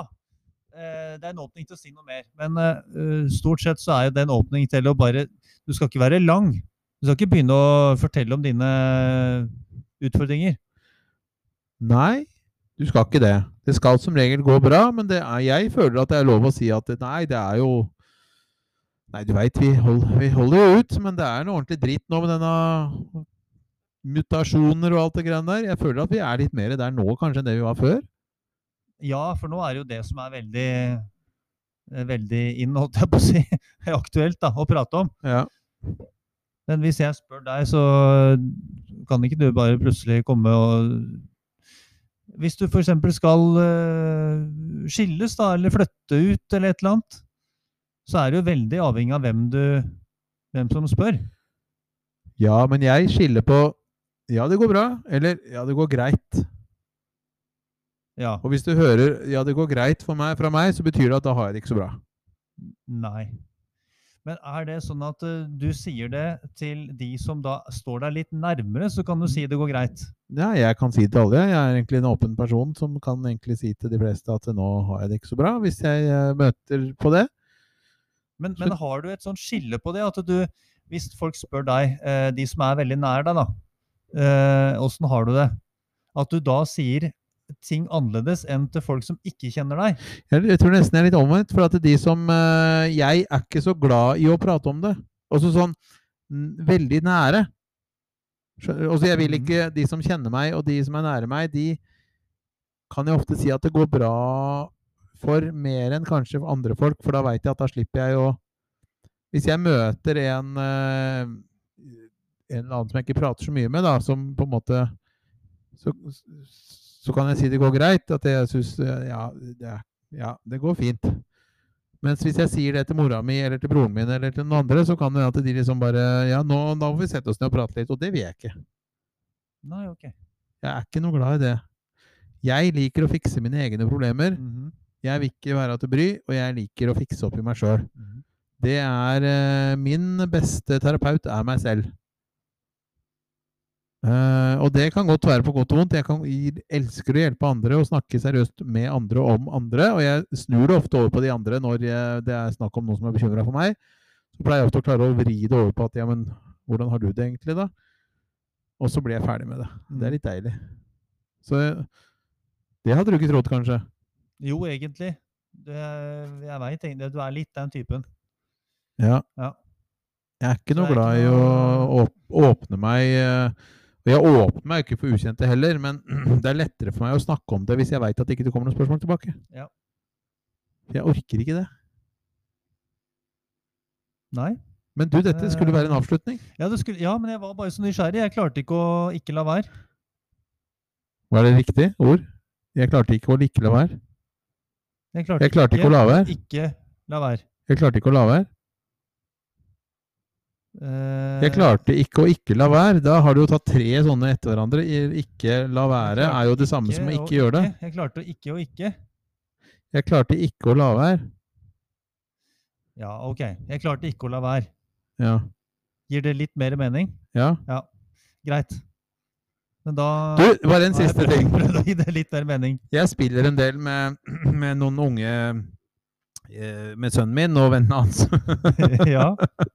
eh, det er en åpning til å si noe mer. Men eh, eh, stort sett så er jo det en åpning til å bare Du skal ikke være lang. Du skal ikke begynne å fortelle om dine utfordringer.
Nei, du skal ikke det. Det skal som regel gå bra, men det er, jeg føler at det er lov å si at nei, det er jo Nei, du veit, vi, hold, vi holder jo ut, men det er noe ordentlig dritt nå med denne mutasjoner og alt det greiene der. Jeg føler at vi er litt mer der nå kanskje enn det vi var før.
Ja, for nå er det jo det som er veldig eh, Veldig inn, holdt jeg på å si. <laughs> Aktuelt da, å prate om.
Ja.
Men hvis jeg spør deg, så kan ikke du bare plutselig komme og Hvis du f.eks. skal eh, skilles, da, eller flytte ut, eller et eller annet, så er det jo veldig avhengig av hvem du hvem som spør.
Ja, men jeg skiller på Ja, det går bra, eller Ja, det går greit.
Ja.
Og hvis du hører Ja, det går greit for meg, fra meg, så betyr det at da har jeg det ikke så bra.
Nei. Men er det sånn at eh, du sier det til de som da står deg litt nærmere, så kan du si det går greit?
Ja, jeg kan si det til alle. jeg. Jeg er egentlig en åpen person som kan egentlig si til de fleste at nå har jeg det ikke så bra, hvis jeg eh, møter på det.
Men, men har du et sånt skille på det? At du, hvis folk spør deg, eh, de som er veldig nær deg, da, eh, åssen har du det? At du da sier ting annerledes enn til folk som ikke kjenner deg?
Jeg, jeg tror nesten jeg er litt omvendt, for at de som eh, Jeg er ikke så glad i å prate om det. Også sånn n- veldig nære. Skjø- Altså, jeg vil ikke De som kjenner meg, og de som er nære meg, de kan jeg ofte si at det går bra for mer enn kanskje for andre folk, for da veit jeg at da slipper jeg å Hvis jeg møter en eh, en eller annen som jeg ikke prater så mye med, da, som på en måte Så, så kan jeg si det går greit, at jeg syns ja, det er- ja, det går fint. Mens hvis jeg sier det til mora mi eller til broren min eller til noen andre, så kan det hende at de liksom bare Ja, nå, da må vi sette oss ned og prate litt. Og det vil jeg ikke.
Nei, ok.
Jeg er ikke noe glad i det. Jeg liker å fikse mine egne problemer.
Mhm.
Jeg vil ikke være til bry, og jeg liker å fikse opp i meg sjøl.
Mhm.
Det er eh, Min beste terapeut er meg selv. Eh, og det kan godt være på godt og vondt. Jeg, kan, jeg elsker å hjelpe andre og snakke seriøst med andre og om andre. Og jeg snur det ofte over på de andre når jeg, det er snakk om noen som er bekymra for meg. Så pleier jeg ofte å klare å vri det over på at ja, men hvordan har du det egentlig, da? Og så blir jeg ferdig med det. Det er litt deilig. Så eh, det hadde du ikke trodd, kanskje?
Jo, egentlig. Det, jeg veit egentlig Du er litt den typen.
Ja.
Ja.
Jeg er ikke
Så
noe
det er
glad i
ikke
å
noe-
åp- åpne meg eh, Og jeg åpner meg ikke for ukjente heller, men <clears throat> det er lettere for meg å snakke om det hvis jeg veit at det ikke kommer noen spørsmål tilbake.
Ja.
For Jeg orker ikke det.
Nei?
Men du, dette skulle være en
Eh.
avslutning.
Ja, det skulle, ja, men jeg var bare så nysgjerrig. Jeg klarte ikke å ikke la være.
Var det riktig ord? Jeg klarte ikke å like la være.
Jeg klarte,
Jeg klarte ikke å la være.
Ikke la være.
Jeg klarte ikke å la være.
Eh,
Jeg klarte ikke å ikke la være. Da har du jo tatt tre sånne etter hverandre. I- Ikke la være er jo det samme som å
og
ikke gjøre det.
Jeg klarte å ikke og ikke.
Jeg klarte ikke å la være.
Ja, ok. Jeg klarte ikke å la være.
Ja.
Gir det litt mer mening?
ja.
Greit. Men da
Du, bare en
da har jeg
siste
prøvd-
ting.
<laughs> prøvd å gi det litt mer mening. <laughs>
Jeg spiller en del med, <clears throat> med noen unge eh, Med sønnen min og vennene hans. <laughs>
ja,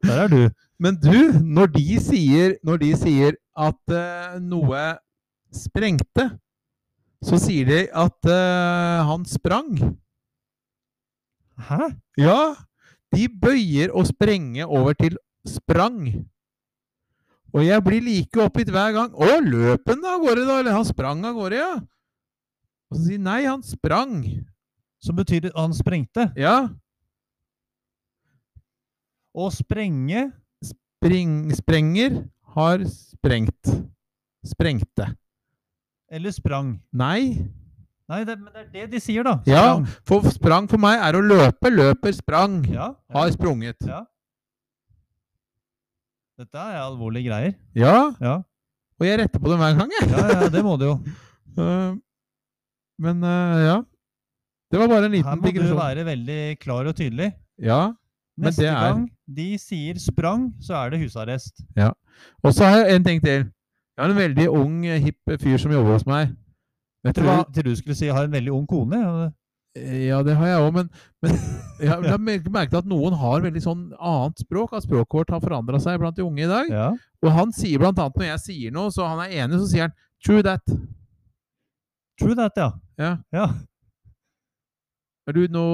der er du.
Men du, når de sier, når de sier at eh, noe sprengte, så sier de at eh, han sprang.
Hæ?
Ja, de bøyer å sprenge over til sprang. Og jeg blir like oppgitt hver gang. Å, løp han av gårde, da? Eller han sprang av gårde, ja? Og så sier de, nei, han sprang.
Som betyr at han sprengte.
Ja,
Å sprenge
Spring, sprenger har sprengt. Sprengte.
eller sprang.
Nei.
Nei, det, men det er det de sier, da.
Ja,
Sprang.
for sprang for meg er å løpe. Løper, sprang.
ja.
Har sprunget.
Ja. Dette er alvorlige greier.
Ja,
Ja.
og jeg retter på dem hver gang, jeg. <laughs>
Ja, ja, det må du jo.
Eh, Men eh, ja. Det var bare en
Her
liten
må du
digresjon.
være veldig klar og tydelig.
Ja. Men
Neste
det er-
gang de sier sprang, så er det husarrest.
Og så har jeg en ting til. Jeg har en veldig ung, eh, hipp fyr som jobber hos meg. Vet du hva?
Til du skulle si 'har en veldig ung kone'. ja.
eh, Ja, det har jeg òg, men, men jeg har jeg har merket at noen har veldig sånn annet språk. At språket vårt har forandra seg blant de unge i dag.
Ja.
Og han sier blant annet når jeg sier noe, så han er enig, så sier han 'true that'.
True that, ja.
Ja.
ja.
Er du nå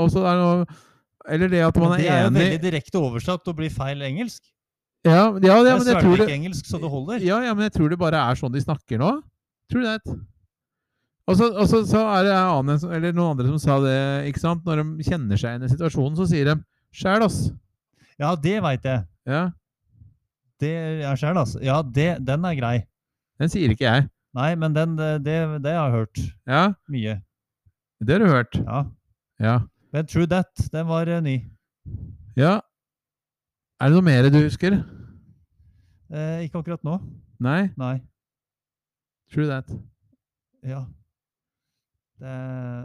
Og så er det noe Eller det at man
Men
er,
det er jo
enig
veldig direkte oversatt og blir feil engelsk.
ja, ja, ja,
jeg
men jeg
svelger
tror
ikke
det,
engelsk, så det holder.
ja, ja, men jeg tror det bare er sånn de snakker nå. True that. Og så, og så, så er det en annen, som- eller noen andre som sa det, ikke sant? Når de kjenner seg igjen i situasjonen, så sier de 'sjæl, ass'.
Ja, det veit jeg.
Ja,
Det er sjæl, altså. Ja, det, den er grei.
den sier ikke jeg.
Nei, men den, det, det- det har jeg hørt
Ja,
mye.
det har du hørt.
Ja.
Ja.
Men true that, den var eh, ny.
ja. Er det noe mer du husker?
Eh, ikke akkurat nå.
Nei?
Nei.
True that.
Ja. Det,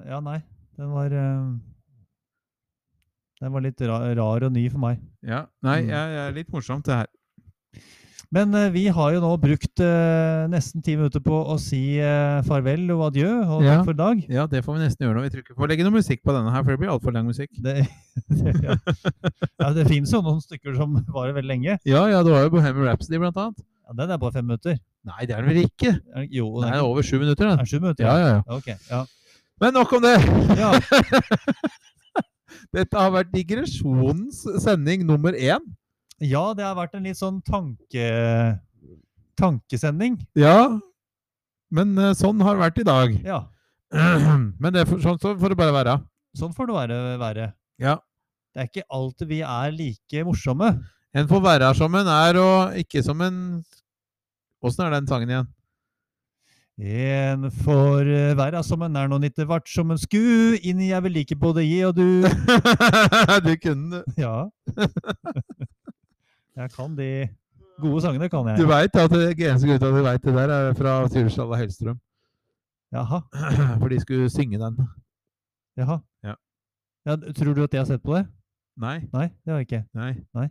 ja, nei. Den var eh, Den var litt ra rar og ny for meg.
Ja. Nei,
Mm.
jeg, jeg er litt morsomt, det her.
Men eh, vi har jo nå brukt eh, nesten ti minutter på å si eh, farvel og adjø og takk
Ja.
for i dag.
Ja, det får vi nesten gjøre når vi trykker på. Legge noe musikk på denne her, for det blir altfor lang musikk.
<laughs> Det, det, ja. ja, det fins jo noen stykker som <laughs> varer veldig lenge.
Ja, ja, det var jo Bohemian Rhapsody, blant annet.
Ja, den er bare fem minutter.
Nei, det er den vel ikke?
Er det- Jo,
Den
den
er
er,
over sju minutter,
er
den.
den sju minutter.
Ja, ja, ja.
Ok, ja.
Men nok om det!
ja.
Dette har vært digresjonens sending nummer én.
Ja, det har vært en litt sånn tanke, tankesending.
Ja, men eh, sånn har det vært i dag. <clears throat>
Ja,
Men det er for, sånn så får det bare være.
sånn får det være. være.
Ja.
Det er ikke alltid vi er like morsomme.
En får være som en er, og ikke som en Åssen er den sangen igjen? <laughs>
En får eh, være som en er, noen ikke vart som en sku. Inni jeg vil like både je og du.
du kunne det. <laughs>
Ja. Jeg kan de gode sangene, kan
Du
jeg.
veit at det eneste grunnen til at du veit det der, er fra Tyrsdala Hellstrøm. <clears throat>
Jaha,
For de skulle synge den.
jaha.
Ja.
Ja, d- tror du at jeg har sett på det?
Nei.
Nei, det har jeg ikke.
Nei.
Nei.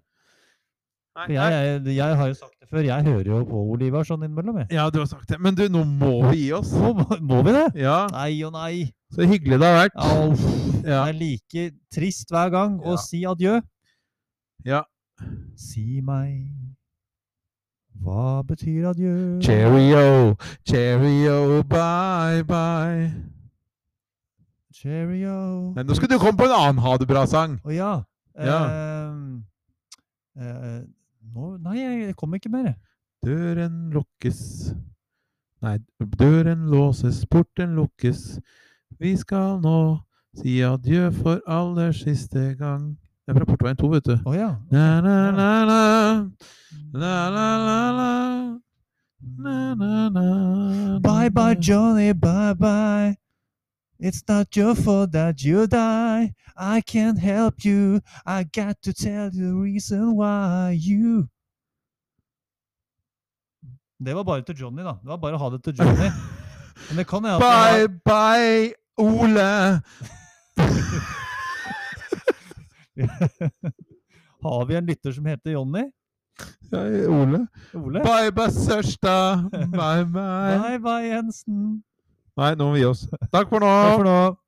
Nei,
For jeg, jeg, jeg har jo sagt det før, jeg hører jo på Olivar sånn innimellom, jeg.
Ja, du har sagt det. Men du, nå må vi gi oss.
Må, må- må vi det?
Ja,
Nei og nei.
så hyggelig det har vært.
Au. Det
Ja.
er like trist hver gang å
Ja.
si adjø.
Ja.
Si meg, hva betyr adjø?
Cheerio, cheerio, bye bye.
Cheerio.
Nei, nå skal du komme på en annen ha det bra-sang.
Å ja.
Ja.
ehm, eh, nå, nei, jeg kom ikke mer. jeg.
Døren lukkes Nei, døren låses, porten lukkes. Vi skal nå si adjø for aller siste gang. Det er fra Portveien 2, vet du.
Å ja.
Na, na, na, na. La, la, la, la. Na, na, na, na.
Bye bye, Johnny, bye bye. It's not your fault that you die. I can't help you. I got to tell you the reason why you Det var bare til Johnny, da. Det var bare å ha det til Johnny. Men det kan jeg
Bye bye, Ole.
Har vi en lytter som heter Johnny?
Ja, Ole.
Ole?
Bye bye,
<laughs>
søster. Bye bye.
Bye bye, Jensen.
Nei, nå må vi gi oss. Takk for nå.
Takk for nå.